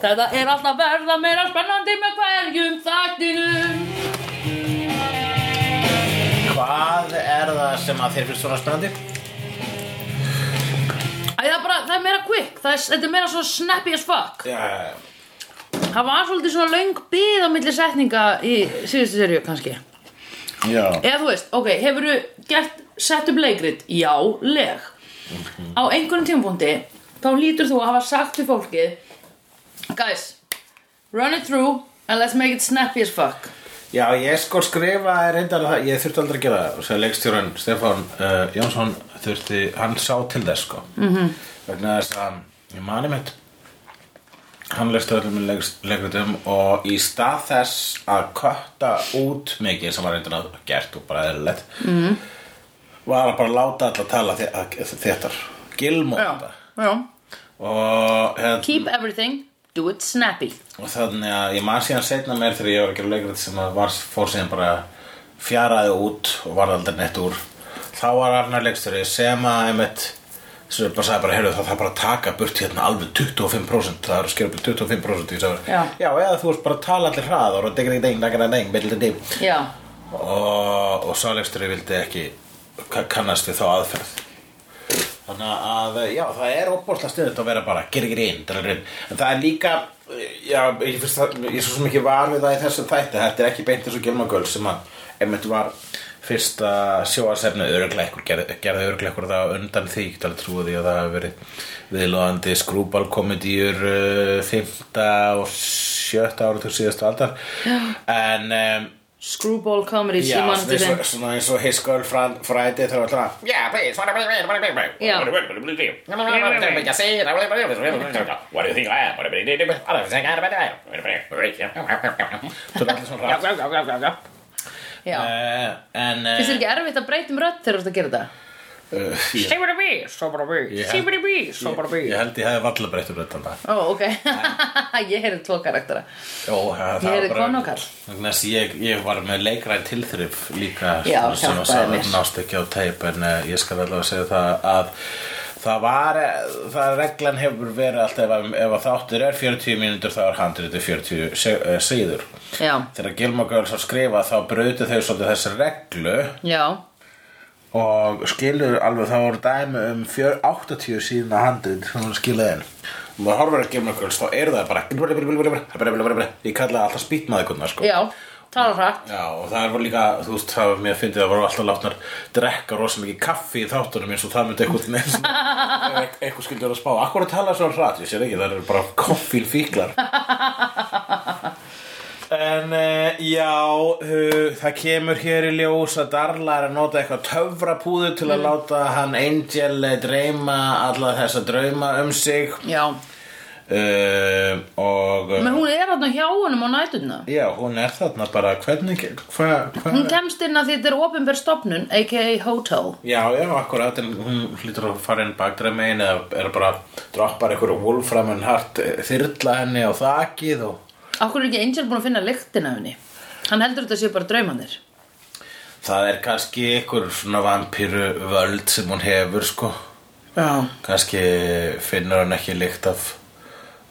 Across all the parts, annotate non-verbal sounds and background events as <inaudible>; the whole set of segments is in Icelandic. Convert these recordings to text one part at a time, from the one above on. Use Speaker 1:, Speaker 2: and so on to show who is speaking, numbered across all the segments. Speaker 1: Þetta er alltaf verða meira spennandi með hverjum þættinum
Speaker 2: Hvað er það sem að þér finnst svona spennandi?
Speaker 1: Æ, það, er bara, það er meira quick, það er, þetta er meira svona snappy as fuck
Speaker 2: Já, já, já.
Speaker 1: Það var svolítið svona löng bið á milli setninga í síðustu serju kannski
Speaker 2: Já.
Speaker 1: Eða þú veist, ok, hefurðu gert sett upp leikrit? Já, leg Á einhverjum tímapunkti þá lítur þú að hafa sagt til fólkið Guys, run it through and let's make it snappy as fuck
Speaker 2: Já, ég sko skrifa reyndar það, ég þurfti aldrei að gera það, sem leikstjóran Stefán uh, Jónsson þurfti, hann sá til þess sko. Mm -hmm. Vegna þess að, ég mani mitt, hann leikst öllum leikritum og í stað þess að kötta út mikið sem var reyndar að gert og bara eðlilegt, mm -hmm. var að bara láta alla tala þe- að- þéttar, gilmóta.
Speaker 1: já
Speaker 2: Og hérna,
Speaker 1: Keep everything, do it snappy
Speaker 2: og þannig að ég man síðan setna mér þegar ég var að gera leikrit sem að var, fór síðan bara fjaraði út og varð aldrei neitt úr þá var Arnar leikstöri sem að einmitt sem bara sagði bara, heyrðu það þarf bara að taka burt hérna alveg 25% það eru skjörbjörn 25% í þessu
Speaker 1: Já.
Speaker 2: já, eða þú veist bara að tala allir hrað og degrið í degin, degrið í degin, billið í degin
Speaker 1: Já,
Speaker 2: og, og sáleiksturinn vildi ekki ka- kannast við þá aðferð þannig að já, það er opbórslega stuðið að vera bara gerir ekki inn, drrrr, en það er líka já, ég finnst það, ég er svo sem ekki var við það í þessu þætti, þetta er ekki beint eins og Gilmagöl sem að, einmitt var fyrsta sjóasefni öruglega ykkur gerði, gerði öruglega ykkur það á undan því ég get alveg trúið því að það hafi verið viðlóðandi skrúbalkomedíur uh, 5. og 7. ára til síðustu aldar en um,
Speaker 1: Screwball comedy
Speaker 2: Já,
Speaker 1: sem mann
Speaker 2: svona
Speaker 1: til
Speaker 2: eins
Speaker 1: þeim
Speaker 2: og- svona eins og Hiskol fræði þegar alltaf
Speaker 3: Yeah, please. What
Speaker 1: Já.
Speaker 3: do you think I am? What do you think
Speaker 2: Þú er allir svona rætt
Speaker 3: <laughs> I am?
Speaker 1: Já,
Speaker 2: En eh,
Speaker 1: finnst þér ekki erfitt að breyta um rödd þegar þú ert að gera þetta?
Speaker 2: eh, ég-
Speaker 3: Say what it be, so what it be.
Speaker 2: Yeah.
Speaker 3: Say what it be, so what it
Speaker 2: Ég
Speaker 3: be.
Speaker 2: held ég hefði valla breytt um þetta
Speaker 1: Ó, ok <laughs> Ég heyrði tvo karaktera
Speaker 2: Jó, það
Speaker 1: Ég
Speaker 2: var
Speaker 1: heyrði
Speaker 2: bara-
Speaker 1: konu og karl.
Speaker 2: Vegna þess að ég, ég var með leikræn tilþrif líka
Speaker 1: Já,
Speaker 2: svona, sem að
Speaker 1: hjálpaði
Speaker 2: sagði
Speaker 1: mér.
Speaker 2: nást ekki á teip en uh, ég skal allavega segja það að það var, eh, það reglan hefur verið alltaf ef, að- ef að þáttur er 40 mínútur þá er handrið 40 se- eh, síður
Speaker 1: Já,
Speaker 2: Þegar Gilmore Girls var skrifað þá brautu þau svolítið þessi reglu
Speaker 1: já,
Speaker 2: og skilur alveg það voru dæmi um fjör, 80 síðna handrit sem hún skilaði inn og maður horfir að Gilmore Girls þá eru það bara ég kallaði það alltaf spýtmaðikunar sko.
Speaker 1: já Tala hratt
Speaker 2: Já, og það var líka, þú veist, það var mér að fyndið að voru alltaf látnar drekka rosa mikið kaffi í þáttunum eins og það myndi eitthvað neins <laughs> eitthvað skildi vera að spá, akkur að tala svo hratt, ég sér ekki, það eru bara koffín fíklar En uh, já, uh, það kemur hér í ljós að Darla er að nota eitthvað töfrapúðu til að láta hann Angel eh, dreyma alla þessa drauma um sig
Speaker 1: Já,
Speaker 2: uh, og
Speaker 1: menn hún er þarna hjá honum á nætuna
Speaker 2: já, hún er þarna bara, hvernig, hvað, hvað
Speaker 1: Hún kemst inn að því þetta er opinber stopnun aka hotel
Speaker 2: Já, já, akkurat, en hún hlýtur að fara inn bakdramegin eða er bara droppar einhverju Wolfram en hart eh, þyrla henni á þakið og
Speaker 1: Akkur er ekki Angel búin að finna lyktin af henni Hann heldur þetta séu bara draumandir
Speaker 2: það er kannski einhver svona vampíru völd sem hún hefur, sko
Speaker 1: Já,
Speaker 2: kannski finnur hann ekki líkt af,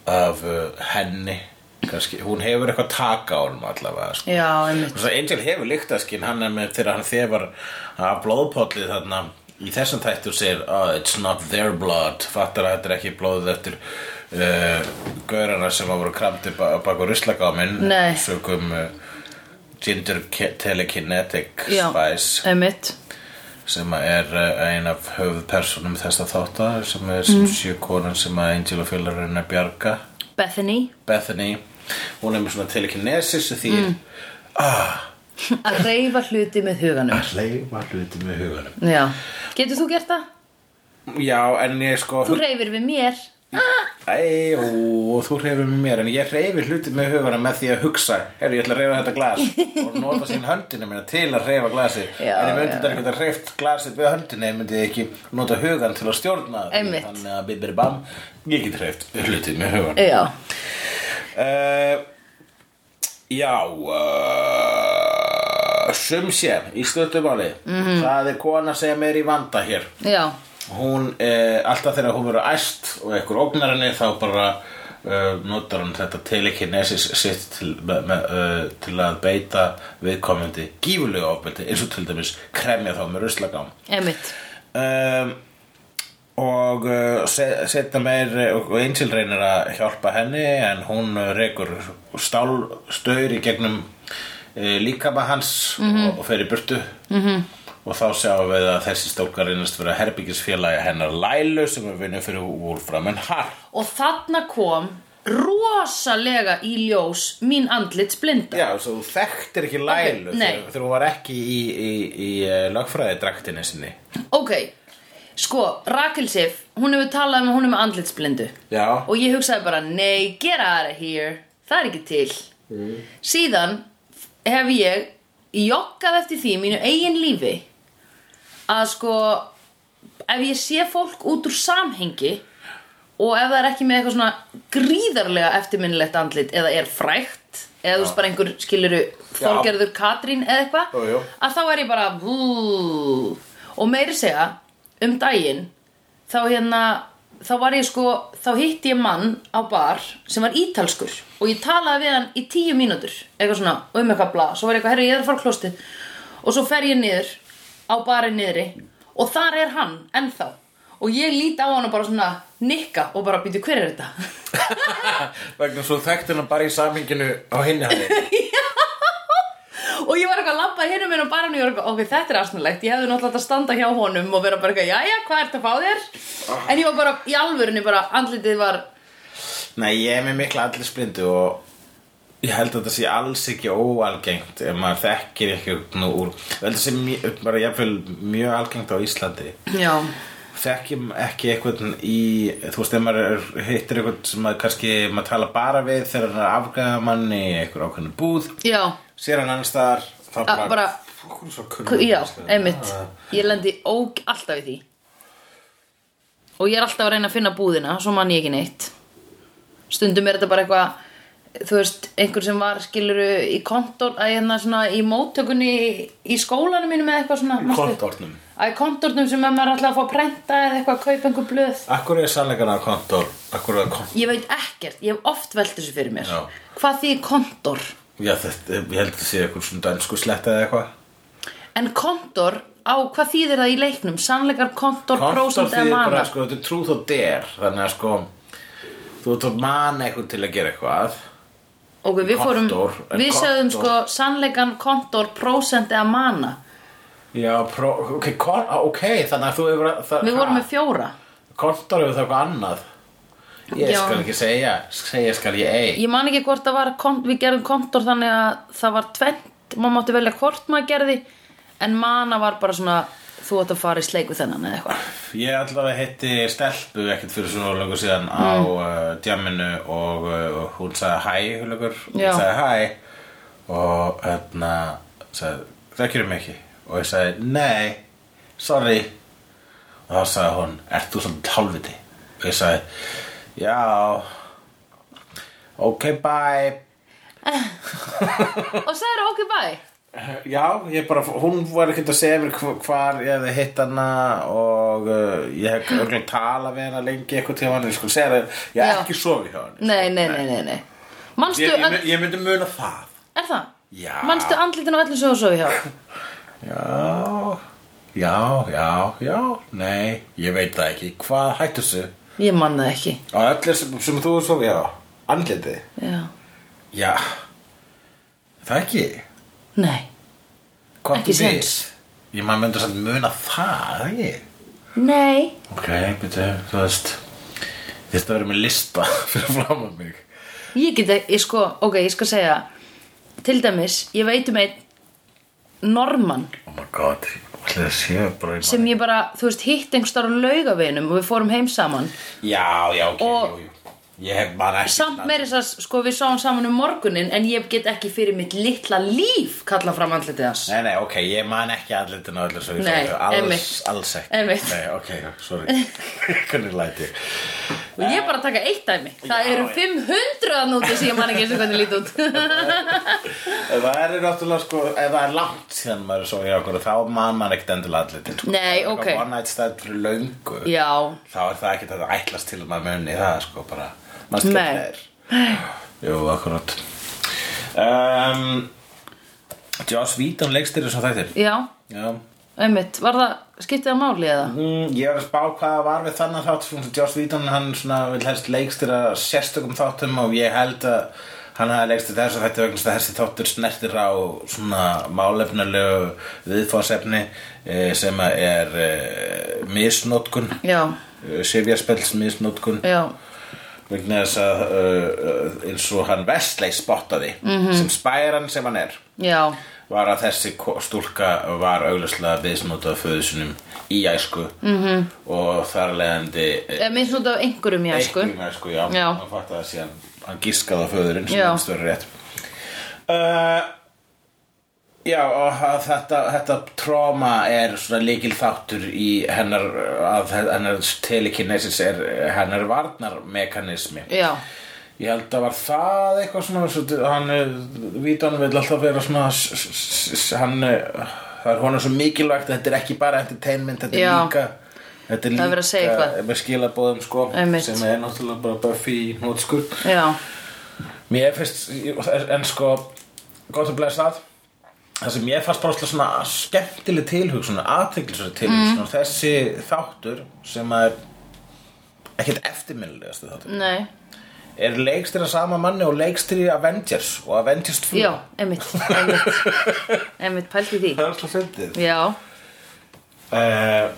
Speaker 2: af uh, henni kannski, hún hefur eitthvað taka á hann allavega, sko
Speaker 1: já, einmitt
Speaker 2: Svo Angel hefur lyktaskinn, hann er með þegar hann þefar að blóðpollið þarna í þessum þættu segir oh, it's not their blood, fattar að þetta er ekki blóðið eftir uh, gaurana sem að voru kramdi bak á ruslagáminn
Speaker 1: Nei.
Speaker 2: sögum uh, gender ke- telekinetic
Speaker 1: Já,
Speaker 2: spice
Speaker 1: einmitt
Speaker 2: sem að er uh, ein af höfuðpersonum þessa þátta sem er
Speaker 1: Mm.
Speaker 2: sem sjö konan sem að Angel og félagur henni að bjarga
Speaker 1: Bethany
Speaker 2: Bethany, hún er með svona telekinesis því mm. ah,
Speaker 1: að reyfa hluti með huganum
Speaker 2: hleyfa hluti með huganum
Speaker 1: Já, getur þú gert það?
Speaker 2: Já, en ég sko
Speaker 1: Þú reyfir við mér
Speaker 2: Æ, ó, þú reyfir með mér En ég reyfi hluti með huganum með því að hugsa Herru, ég ætla að reyfa þetta glas Og nota sín höndina mína til að reyfa glasi
Speaker 1: Já,
Speaker 2: En ég
Speaker 1: já.
Speaker 2: myndi þetta ekki að reyft glasið við höndina Ég myndi ekki nota hugan til að stjórna því.
Speaker 1: Einmitt.
Speaker 2: Þannig að bibir bam Ég get reyft hluti með huganum
Speaker 1: Já, Eh.
Speaker 2: uh, Já uh, Sum sé Í stöttumáli mm
Speaker 1: Mhm.
Speaker 2: -hmm. Það er kona sem er í vanda hér
Speaker 1: já,
Speaker 2: hún, eh, alltaf þegar hún verður æst og einhver ógnar henni þá bara uh, notar hann þetta telekinesis sitt til, með, með, uh, til að beita viðkomandi gífulegu ofbeldi eins og til dæmis kremja þá með ruslagám
Speaker 1: Emitt
Speaker 2: um, og uh, se- setja meir eh, og einsil reynir að hjálpa henni en hún uh, rekur stálstaur í gegnum uh, líkama hans
Speaker 1: Mhm.
Speaker 2: og, og fer í burtu -hmm. og þá sjáum við að þessi stólkar reynast vera herbyggisfélagi hennar Lælu sem er vinnu fyrir Wolfram en Hart
Speaker 1: Og þarna kom rosalega í ljós mín andlits blinda
Speaker 2: Já, svo þú þekktir ekki Lælu
Speaker 1: Ok, nei.
Speaker 2: þegar, þegar hún var ekki í, í, í, í lögfræðidraktinni sinni
Speaker 1: Ok, sko, Rakel Sif, hún hefur talað um að hún er með andlitsblindu
Speaker 2: Já,
Speaker 1: Og ég hugsaði bara, nei, get out of here, það er ekki til Síðan hef ég joggað eftir því í mínu eigin lífi Að sko, ef ég sé fólk út úr samhengi Og ef það er ekki með eitthvað svona gríðarlega eftirminnilegt andlit Eða er frægt Eða þú veist bara einhver skiluru Þorgerður Katrín eða eitthvað
Speaker 2: Jú, jú.
Speaker 1: að þá er ég bara vú, og meiri segja um daginn þá hérna þá var ég sko, þá hitti ég mann á bar sem var ítalskur og ég talaði við hann í tíu mínútur eitthvað svona, um eitthvað bla, svo var ég eitthvað herri, ég er að fara á klostið og svo fer ég niður á barinn niðri og þar er hann, ennþá og ég líti á hann og bara svona nikka og bara býtu hver er þetta
Speaker 2: vegna svo þekktir hann bara í saminginu á hinni hann
Speaker 1: og ég var eitthvað að labba hérna minn og bara hann og ég var eitthvað, ok, þetta er asnalegt ég hefði náttúrulega átt að standa hjá honum og vera bara eitthvað, jæja, hvað ert að fá þér? en ég var bara, í alvörunni bara, andlitið var
Speaker 2: Nei, ég er með mikla allir splindu og ég held að þetta sé alls ekki óalgengt ef maður þekkir ekki nú úr ég held að þetta sé mjög, bara jafnvel mjög algengt á Íslandi
Speaker 1: já,
Speaker 2: þekkjum ekki einhvern í þú veist, ef maður er- hittir einhvern sem maður kannski, maður tala bara við þegar hann er afgæða manni í einhver ákveðnu búð
Speaker 1: já,
Speaker 2: sér hann annars staðar þá
Speaker 1: A- Ah, bara-
Speaker 2: "Hún er svo
Speaker 1: k-
Speaker 2: kunnur."
Speaker 1: já, einmitt ég lendi óg alltaf í því og ég er alltaf að reyna að finna búðina svo man ég ekki neitt stundum er þetta bara eitthvað þú veist, einhver sem var skiluru í kontor, að hérna svona í móttökunni í, í skólanum mínum eða eitthvað svona
Speaker 2: Í
Speaker 1: manstu?
Speaker 2: kontórnum.
Speaker 1: að í kontornum sem að maður er alltaf að fá að prenta eða eitthvað að kaupa einhver blöð
Speaker 2: Akkur er sannleikan að kontor Akkur er kontor
Speaker 1: Ég veit ekkert, ég hef oft velt þessu fyrir mér
Speaker 2: Já.
Speaker 1: Hvað því kontor?
Speaker 2: Já, þetta, ég held að sé eitthvað svona dansku sletta eða eitthvað
Speaker 1: En kontor, á hvað þýðir það í leiknum? Sannleikar kontor, prósent eða
Speaker 2: þýðir bara
Speaker 1: mana
Speaker 2: sko, þetta er trúð og der þannig að sko þú ert að mana eitthvað til að gera eitthvað
Speaker 1: Ok, við fórum,
Speaker 2: kontor, en
Speaker 1: við segðum sko
Speaker 2: kontor-
Speaker 1: Sannleikan kontor, prósent eða mana
Speaker 2: já, pró, ok, kon, á, ok þannig að þú hefur að- það,
Speaker 1: Við vorum með fjóra
Speaker 2: kontor hefur það eitthvað annað ég
Speaker 1: Já.
Speaker 2: skal ekki segja segja skal ég ei
Speaker 1: Ég man ekki hvort það var, kon- við gerðum kontor þannig að það var tvent Má mátti velja hvort maður gerði En mana var bara svona, þú átt að fara í sleik við þennan eða eitthvað
Speaker 2: <laughs> ég allavega heiti Stelpu ekkert fyrir svo langur síðan á uh, djaminu og uh, hún sagði hæ hulugur, hún
Speaker 1: Já.
Speaker 2: sagði hæ og hérna sagði, þekkjur mig ekki og ég sagði nei, sorry og þá sagði hún ert þú svolítið hálfviti og ég sagði, já ok, bye
Speaker 1: Og sagður ok bye
Speaker 2: Já, ég bara, hún var ekkert að segja mér hv- hvar ég hefði hitt hana og uh, ég hef örgulega talað við hana lengi eitthvað til hann, ég sko segja það, ég hef
Speaker 1: Já.
Speaker 2: ekki sofið hjá hann.
Speaker 1: Nei, nei, nei, nei, nei. Manstu,
Speaker 2: Ég, ég,
Speaker 1: öll-
Speaker 2: mun- ég myndi muna það.
Speaker 1: Er það?
Speaker 2: Já.
Speaker 1: Manstu andlitin á öllum sem þú sofi hjá?
Speaker 2: Já, já, já, já, nei, ég veit það ekki. Hvað hættu þessu?
Speaker 1: Ég man það ekki.
Speaker 2: Á öllu sem, sem þú sofið hjá, andlitið.
Speaker 1: Já.
Speaker 2: Já, það ekki.
Speaker 1: Nei.
Speaker 2: Hvað
Speaker 1: Ekki
Speaker 2: áttu við?
Speaker 1: séns.
Speaker 2: Ég maður myndi samt muna það, ekki?
Speaker 1: Nei.
Speaker 2: Ok, betur, þú veist Þetta verður með lista <laughs> fyrir fram að mig
Speaker 1: Ég get ekki, ég sko, ok, ég skal segja. Til dæmis, ég veit um einn normann
Speaker 2: Oh my god, allir það séu bara í
Speaker 1: sem
Speaker 2: manni.
Speaker 1: ég bara, þú veist, hitt einhvers þar á laugaveginum og við fórum heim saman.
Speaker 2: Já, já, ok,
Speaker 1: Og-
Speaker 2: jú, jú Ég hef bara ekki
Speaker 1: Samt meiri þess að, sko, við sáum saman um morgunin en ég get ekki fyrir mitt litla líf kalla fram andlitið hans.
Speaker 2: Nei, nei, ok, ég man ekki allitin á öllu svo ég
Speaker 1: Nei,
Speaker 2: fór. alls,
Speaker 1: einmitt.
Speaker 2: alls ekki
Speaker 1: Einmitt.
Speaker 2: Nei, ok, sorry, <laughs> hvernig læti ég?
Speaker 1: Og ég er bara að taka eitt dæmi. Það
Speaker 2: Já,
Speaker 1: eru
Speaker 2: já.
Speaker 1: 500 að núti sem ég man ekki eins og hvernig lít
Speaker 2: <laughs>
Speaker 1: út.
Speaker 2: Það er náttúrulega sko, ef það er langt síðan maður er svo í okkur þá man man ekkert endilega allitin sko.
Speaker 1: Nei,
Speaker 2: Það er
Speaker 1: ok.
Speaker 2: eitthvað One night stand fyrir löngu
Speaker 1: Já,
Speaker 2: þá er það ekkert að ætlast til að maður muni það sko bara Manstu
Speaker 1: Nei.
Speaker 2: hvernig það er? Jú, akkurat um, Joss Whedon leikstýrir þessum þættir
Speaker 1: Já,
Speaker 2: Já
Speaker 1: einmitt, var það, skiptið að máli eða?
Speaker 2: Mm, ég var að spá hvað það var við þannig þátt svona, Joss Whedon hann svona vil helst leikstýra sérstökum þáttum og ég held að hann hafi leikstýrt þessu þætti vegna þess að þessi þáttur snertir á svona málefnulegu viðfóðsefni eh, sem að er eh, e, misnótkun
Speaker 1: Já,
Speaker 2: sifjarspels misnótkun
Speaker 1: já,
Speaker 2: vegna þess að uh, uh, eins og hann Vestley spottaði -hmm. sem spæran sem hann er
Speaker 1: já,
Speaker 2: var að þessi ko- stúlka var augljóslega viðsnótað föðusunum í æsku -hmm. og þar leðandi
Speaker 1: eða minnst út af einhverjum já, sko
Speaker 2: í æsku, já,
Speaker 1: Já.
Speaker 2: hann fatt að síðan hann gískaði á föðurinn sem
Speaker 1: Já.
Speaker 2: hann stöður rétt uh, Já, og að þetta, þetta tróma er svona líkil þáttur í hennar, að hennar telekinesis er hennar varnarmekanismi
Speaker 1: Já,
Speaker 2: Ég held að var það eitthvað svona, svo, hann, eh, Vítan vil alltaf vera svona, s- s- s- hann, eh, það er honum svo mikilvægt að þetta er ekki bara entertainment, þetta er
Speaker 1: Já.
Speaker 2: líka, þetta er
Speaker 1: Það er verið að segja
Speaker 2: líka
Speaker 1: eitthvað.
Speaker 2: með skilabóðum sko,
Speaker 1: Einmitt.
Speaker 2: sem er náttúrulega bara Buffy í nótskur.
Speaker 1: já,
Speaker 2: Mér finnst, en sko, gott að blæða það, það sem ég fannst bara óslega svona skemmtileg tilhugsun, aðteglisverið tilhugsun, mm. þessi þáttur sem að er ekkert eftirminnilegasti þáttur
Speaker 1: nei,
Speaker 2: er leikstýra sama manni og leikstýri Avengers og Avengers 2
Speaker 1: já, einmitt, einmitt, einmitt, pældi því
Speaker 2: það er alltaf fyndið
Speaker 1: Já,
Speaker 2: uh,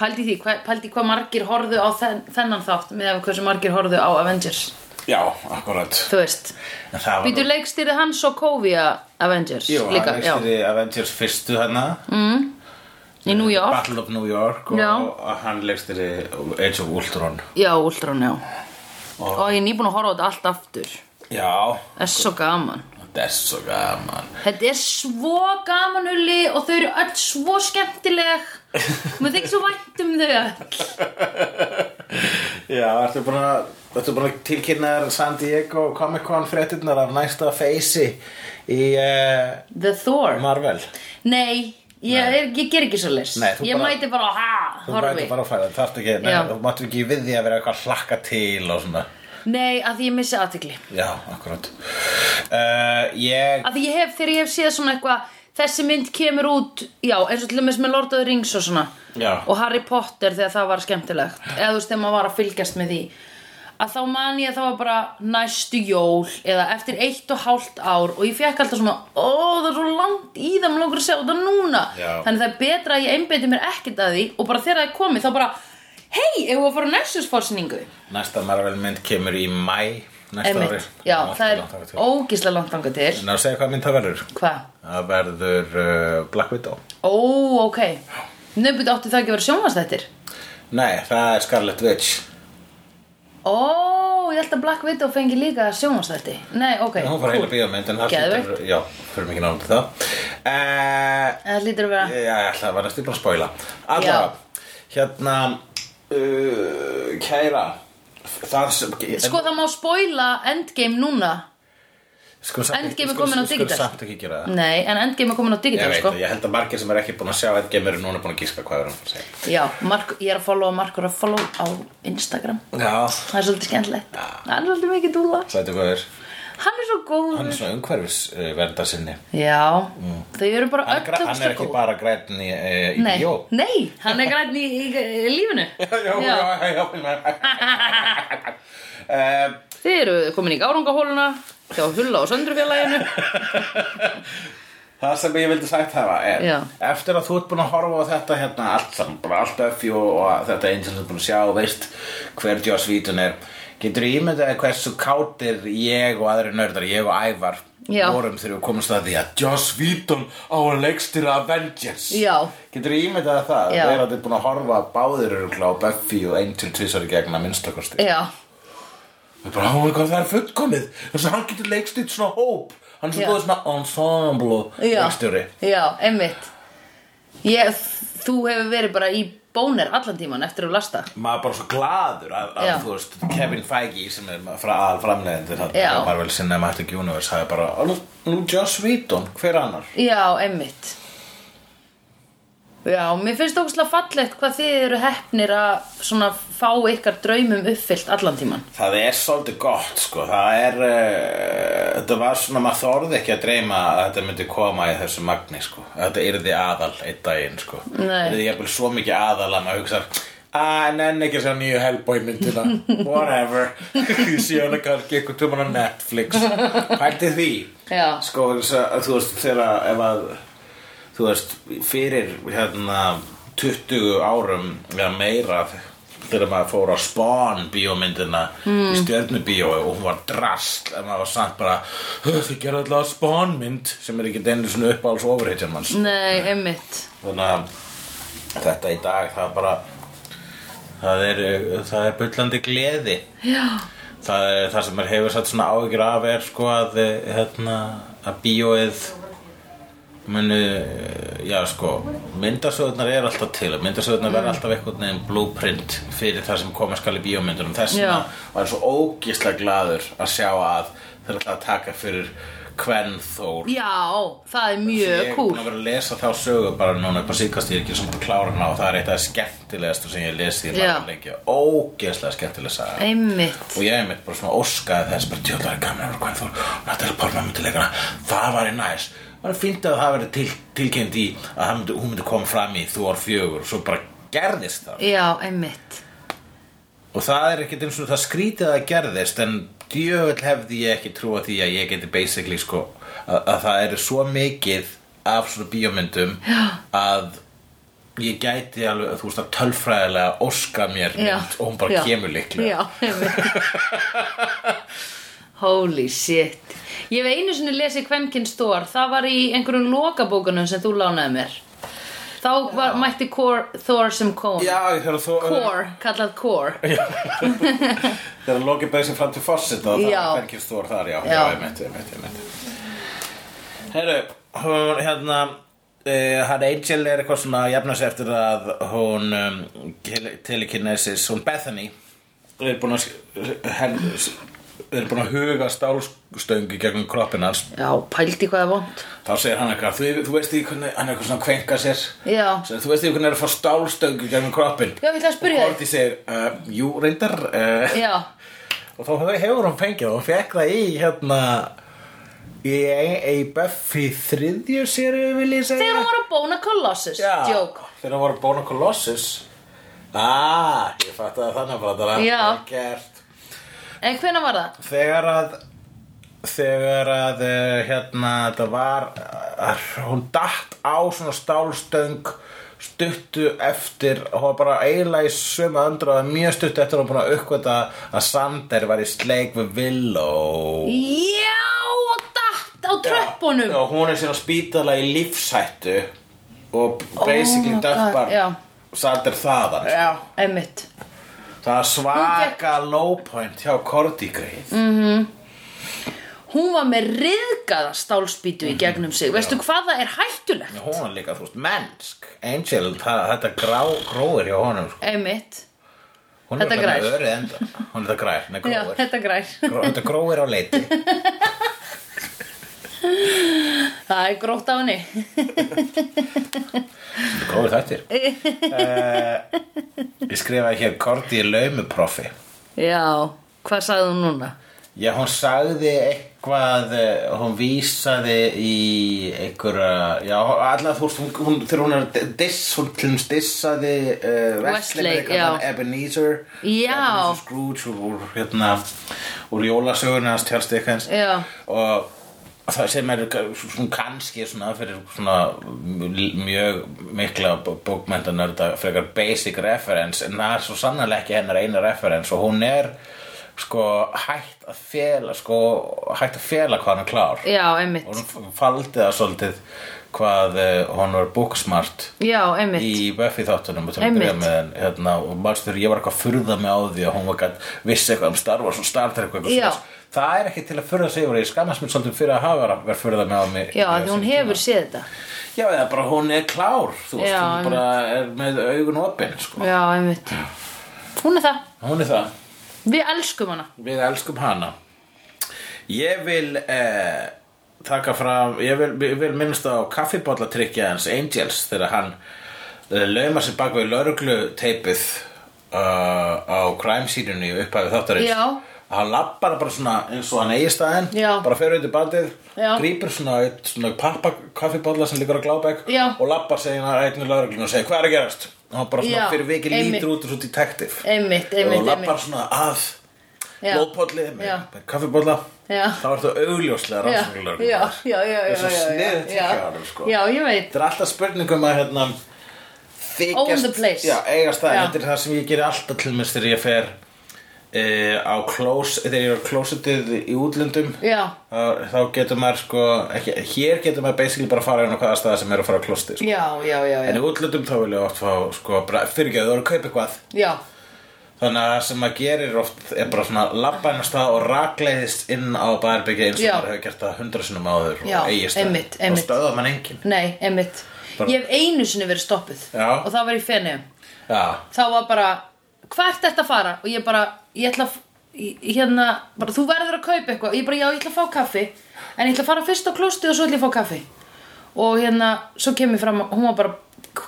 Speaker 1: pældi því, hva, pældi hvað margir horfðu á þen, þennan þátt með af hversu margir horfðu á Avengers,
Speaker 2: já, akkurat
Speaker 1: þú veist
Speaker 2: en það var
Speaker 1: Býtu leikstýrið hann Sokovia Avengers
Speaker 2: jú,
Speaker 1: líka,
Speaker 2: hann
Speaker 1: já,
Speaker 2: leikstýri Avengers fyrstu hana
Speaker 1: í New York
Speaker 2: Battle of New York og,
Speaker 1: Já.
Speaker 2: og hann leikstýri Age of Ultron
Speaker 1: Já, Ultron, já Og ég er nýbúin að horfa á þetta allt aftur
Speaker 2: já,
Speaker 1: Það er svo gaman
Speaker 2: þetta er svo gaman
Speaker 1: Þetta er svo gaman hulli og þau eru öll svo skemmtileg Mér þykir svo vænt um þau öll
Speaker 2: já, ertu búin að Þetta er bara tilkynnaðar San Diego Comic Con fréttinnar af næsta feysi í uh,
Speaker 1: The Thor
Speaker 2: Marvel.
Speaker 1: Nei, ég, ég, ég ger ekki svo les
Speaker 2: Nei, þú
Speaker 1: Ég
Speaker 2: bara-
Speaker 1: mæti bara á ha,
Speaker 2: Þú
Speaker 1: horfi
Speaker 2: mætti bara að færa, það þarfst ekki,
Speaker 1: Já.
Speaker 2: neina, þú máttu ekki við því að vera eitthvað að hlakka til og svona.
Speaker 1: Nei, að því ég missi aðtekli
Speaker 2: Já, akkurat uh, Ég
Speaker 1: Að því ég hef, þegar ég hef séð svona eitthvað Þessi mynd kemur út, já, eins og til dæmis með Lord of the Rings og svona
Speaker 2: Já.
Speaker 1: Og Harry Potter þegar það var skemmtilegt Eða þú veist, þegar maður var að fylgjast með því Að þá man ég að það var bara næstu jól Eða eftir eitt og hálft ár Og ég fekk alltaf svona, ó, það er svo langt í það Mér langar að sjá þetta núna
Speaker 2: Já.
Speaker 1: Þannig það er betra að ég einbeiti mér ekkert að því Og bara þegar það er komið, þá bara Hei, ef við að fara næstusforsningu
Speaker 2: Næsta Marvel mynd kemur í mæ Næsta ári
Speaker 1: Emmitt, já, það er
Speaker 2: ó...
Speaker 1: ógíslega langt þangað til
Speaker 2: En að segja hvað mynd það verður
Speaker 1: Hvað?
Speaker 2: Það verður uh, Black Widow
Speaker 1: Ó, ok Nöfnbyrðu átti það ekki að vera sjónvarsþættir
Speaker 2: Nei, það er Scarlet Witch
Speaker 1: Ó, ég held að Black Widow fengi líka sjónvarsþætti Nei, ok
Speaker 2: Hún fór heila bíómynd En það
Speaker 1: Geðveikt.
Speaker 2: hlýtur- Já, fyrir mikið nátt það uh,
Speaker 1: Það lítur að vera
Speaker 2: Já, ég ætla að vera næstu bara að spoila Allavega, hérna uh, Kæra Það sem
Speaker 1: Sko, það má spoila Endgame núna
Speaker 2: sko, samt ekki-
Speaker 1: Endgame er
Speaker 2: sko,
Speaker 1: komin á
Speaker 2: sko,
Speaker 1: digital.
Speaker 2: Sko, samt ekki gera það
Speaker 1: Nei, en Endgame er komin á
Speaker 2: Ég
Speaker 1: digital,
Speaker 2: veit,
Speaker 1: sko
Speaker 2: það, ég held að margir sem er ekki búin að sjá Endgame eru núna búin að gíska hvað er hann að segja
Speaker 1: Já, Mark, ég er að followa Markur að follow á Instagram
Speaker 2: Já,
Speaker 1: Það er svolítið skemmtilegt Hann er svolítið mikið dúla
Speaker 2: sæti góður
Speaker 1: Hann er svo
Speaker 2: Hann er
Speaker 1: góður
Speaker 2: svona umhverfis uh, verndarsinni
Speaker 1: Já, þau eru bara
Speaker 2: hann, er
Speaker 1: öll
Speaker 2: gra- hann er
Speaker 1: ógeðslega
Speaker 2: ekki
Speaker 1: góð.
Speaker 2: bara græn í, uh, í
Speaker 1: Nei,
Speaker 2: bjó
Speaker 1: <laughs>
Speaker 2: <laughs>
Speaker 1: nei, hann er græn í, í, í lífinu
Speaker 2: Já, já, já, já
Speaker 1: <laughs>
Speaker 2: <laughs> Ehm,
Speaker 1: Þið eru komin í gárungahóluna hjá Hulla og Söndrufélaginu
Speaker 2: Það sem ég vildi sagt hafa er
Speaker 1: Já.
Speaker 2: Eftir að þú ert búin að horfa á þetta hérna allt saman bara allt öffi og, og þetta eins og þú ert búin að sjá og veist hver Joss Vítun er Getur ímyndaði hversu kátir ég og aðri nördar, ég og Ævar
Speaker 1: Já.
Speaker 2: vorum þegar við komumst að því að Joss Vítun á að leikstýra Avengers
Speaker 1: Já.
Speaker 2: Getur ímyndaði það
Speaker 1: Já.
Speaker 2: Það er að þið búin að horfa á báðir örugglega á Buffy og Angel Tvísar í gegn að minnstakosti
Speaker 1: Já,
Speaker 2: Við bara, oh my god, það er fullkomið Þess að hann getur leikstýrt svona hóp Hann
Speaker 1: Já.
Speaker 2: er svo góð svona ensemble
Speaker 1: já,
Speaker 2: leikstjóri
Speaker 1: já, einmitt ég, Þú hefur verið bara í bónir allan tíman eftir að lasta
Speaker 2: maður bara svo gladur að, að
Speaker 1: Já.
Speaker 2: þú veist, Kevin Feige sem er frá aðal framleiðandi
Speaker 1: Já.
Speaker 2: þannig að Marvel Cinematic Universe hafi bara, "Ó, nú, nú Joss Whedon, hver annar
Speaker 1: Já, einmitt Já, mér finnst ógustlega fallegt hvað þið eru heppnir að svona fá ykkar draumum uppfyllt allan tíman.
Speaker 2: Það er svolítið gott sko Það er uh, Þetta var svona maður þorði ekki að dreyma að þetta myndi koma í þessu magni sko Þetta yrði aðal einn daginn sko
Speaker 1: Nei.
Speaker 2: Þetta er jafnvel svo mikið aðal að maður hugsa Ah, nenn ekki að sjá nýju Hellboy myndina
Speaker 1: <laughs>
Speaker 2: Whatever <laughs> Ég sé hana kannski eitthvað tóman á Netflix Pælti því
Speaker 1: Já.
Speaker 2: Sko, vegna þess að, þú veist, þegar ef að Þú veist, fyrir hérna 20 árum eða meira þegar maður fór á Spawn bíómyndina í stjörnubíó og hún var drast en maður var samt bara "Hö, þið gerðu alltaf Spawn mynd sem er ekki denni svona uppáhalds overhitjan manns
Speaker 1: Nei, einmitt.
Speaker 2: þannig að þetta í dag það er bara það er, það er bullandi gleði
Speaker 1: Já,
Speaker 2: það, er, það sem er hefur satt svona áhyggjur af er sko að eh, hérna, að bíóið munu, eh, já sko myndasöðunar er alltaf til myndasöðunar verða
Speaker 1: Mm.
Speaker 2: alltaf einhvern veginn blueprint fyrir það sem koma skal í bíómyndunum þess vegna
Speaker 1: Já.
Speaker 2: var ég svo ógislega gladur að sjá að þeir eru alltaf að taka fyrir hvern þór
Speaker 1: já, það er
Speaker 2: Ég
Speaker 1: mjög
Speaker 2: er búin
Speaker 1: cool.
Speaker 2: að vera að lesa þá sögu bara núna upp á síðkast ég er ekki svona klára hana og það er eitt af skemmtilegast sem ég lesi í
Speaker 1: Já.
Speaker 2: langarleikja ógeðslega skemmtilega saga
Speaker 1: Einmitt.
Speaker 2: og ég er mitt bara svona óskaði þess bara tjóðlega er gaman að vera hvað þú Natalie Portman myndi leikana það væri næs það var fínt að það væri til, tilkynnt í að hann myndi, hún myndi koma fram í þú ár fjögur og svo bara gerðist það
Speaker 1: Já, einmitt.
Speaker 2: og það er ekkert eins og það skrítið að það gerðist en djöfull hefði ég ekki trúa því að ég geti basically sko að, að það eru svo mikið af svona bíómyndum Já. að ég gæti alveg þú veist að tölfræðilega óska mér
Speaker 1: Já.
Speaker 2: mynd og hún bara
Speaker 1: já.
Speaker 2: kemur líklega
Speaker 1: Já,
Speaker 2: <laughs>
Speaker 1: einmitt. Holy shit. Ég hef einu sinni lesið Kvenkin Stór. Það var í einhverjum lokabókunum sem þú lánaði mér. Þá var, mætti Kor, Thor sem kom.
Speaker 2: Já, þegar þú
Speaker 1: Kor, kallað Kor.
Speaker 2: þegar Loki beðið sér fram til Fawcett og það
Speaker 1: Já.
Speaker 2: er hverkið stór þar, já, já,
Speaker 1: Já.
Speaker 2: ég meinti, ég meinti, ég meinti. Herru, hún, hérna, uh, hann Angel er eitthvað svona að jafna sig eftir að hún um, telekinesis, hún Bethany, er búin að, sk- henn, er búin að huga stálstöngu gegnum kroppin hans
Speaker 1: Já, pældi hvað er vond.
Speaker 2: þá segir hann eitthvað, þú, þú veist því hvernig hann er eitthvað svona að kvenka sér
Speaker 1: Já.
Speaker 2: Segir, þú veist því hvernig er að fá stálstöngu gegnum kroppin
Speaker 1: Já, ég ætla að spyrja
Speaker 2: og
Speaker 1: þig.
Speaker 2: Korti segir, uh, jú, reyndar uh,
Speaker 1: Já,
Speaker 2: og þá hefur hún fengið það, hún fekk það í hérna í, í Buffy þriðju sériu vil ég segja
Speaker 1: þegar hún var að bóna Colossus.
Speaker 2: Já,
Speaker 1: Jók.
Speaker 2: þegar hún var bóna Colossus ah, ég fatt að þannig bara það
Speaker 1: Já.
Speaker 2: var gert
Speaker 1: En hvenær var það?
Speaker 2: þegar að þegar að eh, hérna þetta var að, hún datt á svona stálstöng stuttu eftir hún var bara eiginlega í sömu andra mjög stuttu eftir hún var búin að uppkvæta að Sander var í sleik við Willow
Speaker 1: Já, og datt á tröppunum.
Speaker 2: Já, hún er síðan á spítala í lífshættu og
Speaker 1: Oh
Speaker 2: basically
Speaker 1: my God,
Speaker 2: döppar
Speaker 1: já.
Speaker 2: Sander þaðan
Speaker 1: Já. Einmitt.
Speaker 2: Það er svaka low point hjá Korti greið
Speaker 1: Mm. Hún var með riðgaða stálspýtu
Speaker 2: Mhm.
Speaker 1: í gegnum sig. Veistu hvað það er hættulegt?
Speaker 2: Hún er líka, þú veist, mennsk Angel, það, þetta grá, gróir hjá honum sko.
Speaker 1: Einmitt.
Speaker 2: Hún er
Speaker 1: Þetta
Speaker 2: alveg með
Speaker 1: grær.
Speaker 2: örið enda Hún er þetta grær, nei
Speaker 1: Já,
Speaker 2: gróir
Speaker 1: þetta grær.
Speaker 2: Gró, Þetta gróir á leiti
Speaker 1: <laughs> Það er grótt á henni.
Speaker 2: Þetta gróir
Speaker 1: <laughs>
Speaker 2: þættir uh, Ég skrifaði hér Korti er laumuprofi
Speaker 1: Já, hvað sagði hún núna?
Speaker 2: Já, hún sagði eitthvað, eh, hún vísaði í einhverja, já, allar þú veist, hún, hún, þegar hún er að diss, hún til hún dissaði uh,
Speaker 1: Wesley, já.
Speaker 2: hann Ebenezer,
Speaker 1: Já.
Speaker 2: Ebenezer Scrooge úr, úr, hérna, úr jólasögunni hans Charles Dickens
Speaker 1: Já.
Speaker 2: og það sem er svona kannski svona fyrir svona mjög mikla bókmyndanörda frekar basic reference en það er svo sannarlega ekki hennar eina reference og hún er sko hætt að fela sko hætt að fela hvað hann er klár
Speaker 1: Já,
Speaker 2: og
Speaker 1: einmitt.
Speaker 2: hún faldi það svolítið hvað eh, hún var booksmart
Speaker 1: Já, einmitt.
Speaker 2: í Buffy þáttunum og til að
Speaker 1: Einmitt.
Speaker 2: byrja með henn hérna, og maður þegar ég var eitthvað að furða mig á því að hún var gætt vissi eitthvað um Star Wars og Star Trek og eitthvað
Speaker 1: Já.
Speaker 2: svoleiðis. það er ekki til að furða sig yfir ég skammast mér svolítið fyrir að hafa verið að vera að furða mig á mig
Speaker 1: Já,
Speaker 2: á
Speaker 1: því
Speaker 2: sínum
Speaker 1: hún
Speaker 2: tíma.
Speaker 1: hefur séð þetta.
Speaker 2: já, eða bara hún er klár þú veist,
Speaker 1: Já,
Speaker 2: hún bara er með augun opinn sko.
Speaker 1: Já, einmitt. Hún er það.
Speaker 2: hún er það,
Speaker 1: Við elskum hana.
Speaker 2: við elskum hana ég vil eh, taka fram, ég vil, ég vil minnst á kaffibóllatrykja hans Angels þegar hann lauma sér bak við lauruglu teipið uh, á kræmsýrunni upphæfi þáttarins
Speaker 1: Já.
Speaker 2: hann lappar bara svona eins og hann eigi staðinn
Speaker 1: Já.
Speaker 2: bara fer út í bandið
Speaker 1: Já.
Speaker 2: grípur svona, eitt svona pappakaffibólla sem líkur á glábæk
Speaker 1: Já.
Speaker 2: og lappar segina einnig lauruglun og segir hvað er að gerast og hann bara svona
Speaker 1: Já,
Speaker 2: fyrir vikið
Speaker 1: einmitt.
Speaker 2: lítur út eins og detektiv
Speaker 1: Einmitt,
Speaker 2: og
Speaker 1: einmitt,
Speaker 2: lappar
Speaker 1: einmitt
Speaker 2: svona að
Speaker 1: Já.
Speaker 2: blóðpolli
Speaker 1: Já.
Speaker 2: með kaffibólla
Speaker 1: Já.
Speaker 2: þá er það augljóslega
Speaker 1: Já,
Speaker 2: rannsóknarlauruglun
Speaker 1: já, já, já, já,
Speaker 2: Þessu
Speaker 1: já, já,
Speaker 2: sniðugt
Speaker 1: já.
Speaker 2: hjá honum, sko.
Speaker 1: Já, ég veit
Speaker 2: Þetta er alltaf spurningum að hérna
Speaker 1: Own the place.
Speaker 2: Já, eigast það,
Speaker 1: Já.
Speaker 2: þetta er það sem ég gerir alltaf til mér þegar ég fer uh, á klós, þegar ég er á klósitið í útlöndum
Speaker 1: Já.
Speaker 2: þá, þá getur maður sko ekki, hér getur maður basically bara að fara inn á hvaða staða sem er að fara á klósti sko.
Speaker 1: Já, já, já,
Speaker 2: en
Speaker 1: já,
Speaker 2: í útlöndum þá vil ég oft fá sko, bara, fyrirgeðu þú voru að kaupa eitthvað
Speaker 1: já.
Speaker 2: þannig að það sem maður gerir oft er bara svona labba inn á stað og rakleiðist inn á barbyggja eins og
Speaker 1: Já.
Speaker 2: maður hefur gert það hundra sinnum áður
Speaker 1: Já,
Speaker 2: og eigist
Speaker 1: einmitt,
Speaker 2: og
Speaker 1: einmitt.
Speaker 2: stöða mann engin
Speaker 1: Nei, einmitt
Speaker 2: Bara-
Speaker 1: Ég hef einu sinni verið stoppuð
Speaker 2: Já.
Speaker 1: Og það var í fenniðum
Speaker 2: Já,
Speaker 1: þá var bara hvert þetta að fara og ég bara, ég ætla að ég- hérna, bara þú verður að kaupa eitthvað og ég bara, já, ég ætla að fá kaffi en ég ætla að fara fyrst á klostið og svo ætla ég að fá kaffi og hérna, svo kemur fram hún var bara,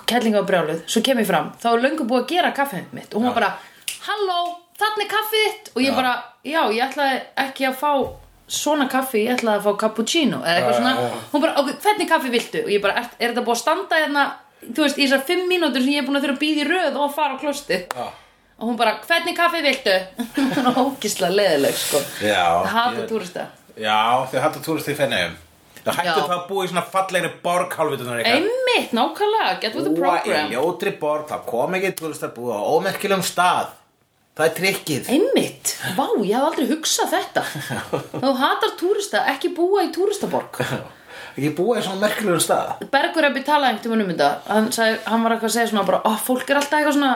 Speaker 1: kellinga og brjáluð svo kemur fram, þá er löngu búið að gera kaffið mitt og hún var bara, halló þarna er kaffið þitt og ég
Speaker 2: Já.
Speaker 1: bara, já, ég ætlaði ekki að fá svona kaffi, ég ætlaði að fá cappuccino eða eitthvað
Speaker 2: Já,
Speaker 1: svona,
Speaker 2: já, já.
Speaker 1: hún bara, ok, hvernig kaffi viltu? Og ég bara, er, er þetta búið að standa hérna, þú veist, í þessar fimm mínútur sem ég er búin að þurfa að býða í röð og að fara á klosti
Speaker 2: Já.
Speaker 1: Og hún bara, hvernig kaffi viltu? <laughs> Hún var ógislega leðileg, sko
Speaker 2: Já,
Speaker 1: Hata
Speaker 2: ég-
Speaker 1: túrista
Speaker 2: Já, þið hattu túrist í fennegum Það hættu
Speaker 1: Já.
Speaker 2: það að búa í svona fallegri borg hálfvitunar
Speaker 1: Einmitt, nákvæmlega, get with the
Speaker 2: í
Speaker 1: program
Speaker 2: ljótri borg, það kom ekki túristar búa á ómerkilegum stað Það er trikkið
Speaker 1: Einmitt, vá, ég hef aldrei hugsað
Speaker 2: <laughs>
Speaker 1: þetta Þú hatar túrista, ekki búa í túristaborg
Speaker 2: Ekki búa í svona merkilegum stað
Speaker 1: Bergur hefði talað einhvern tímann um þetta hann, sagði, hann var eitthvað að segja svona bara, oh, fólk er alltaf eitthvað svona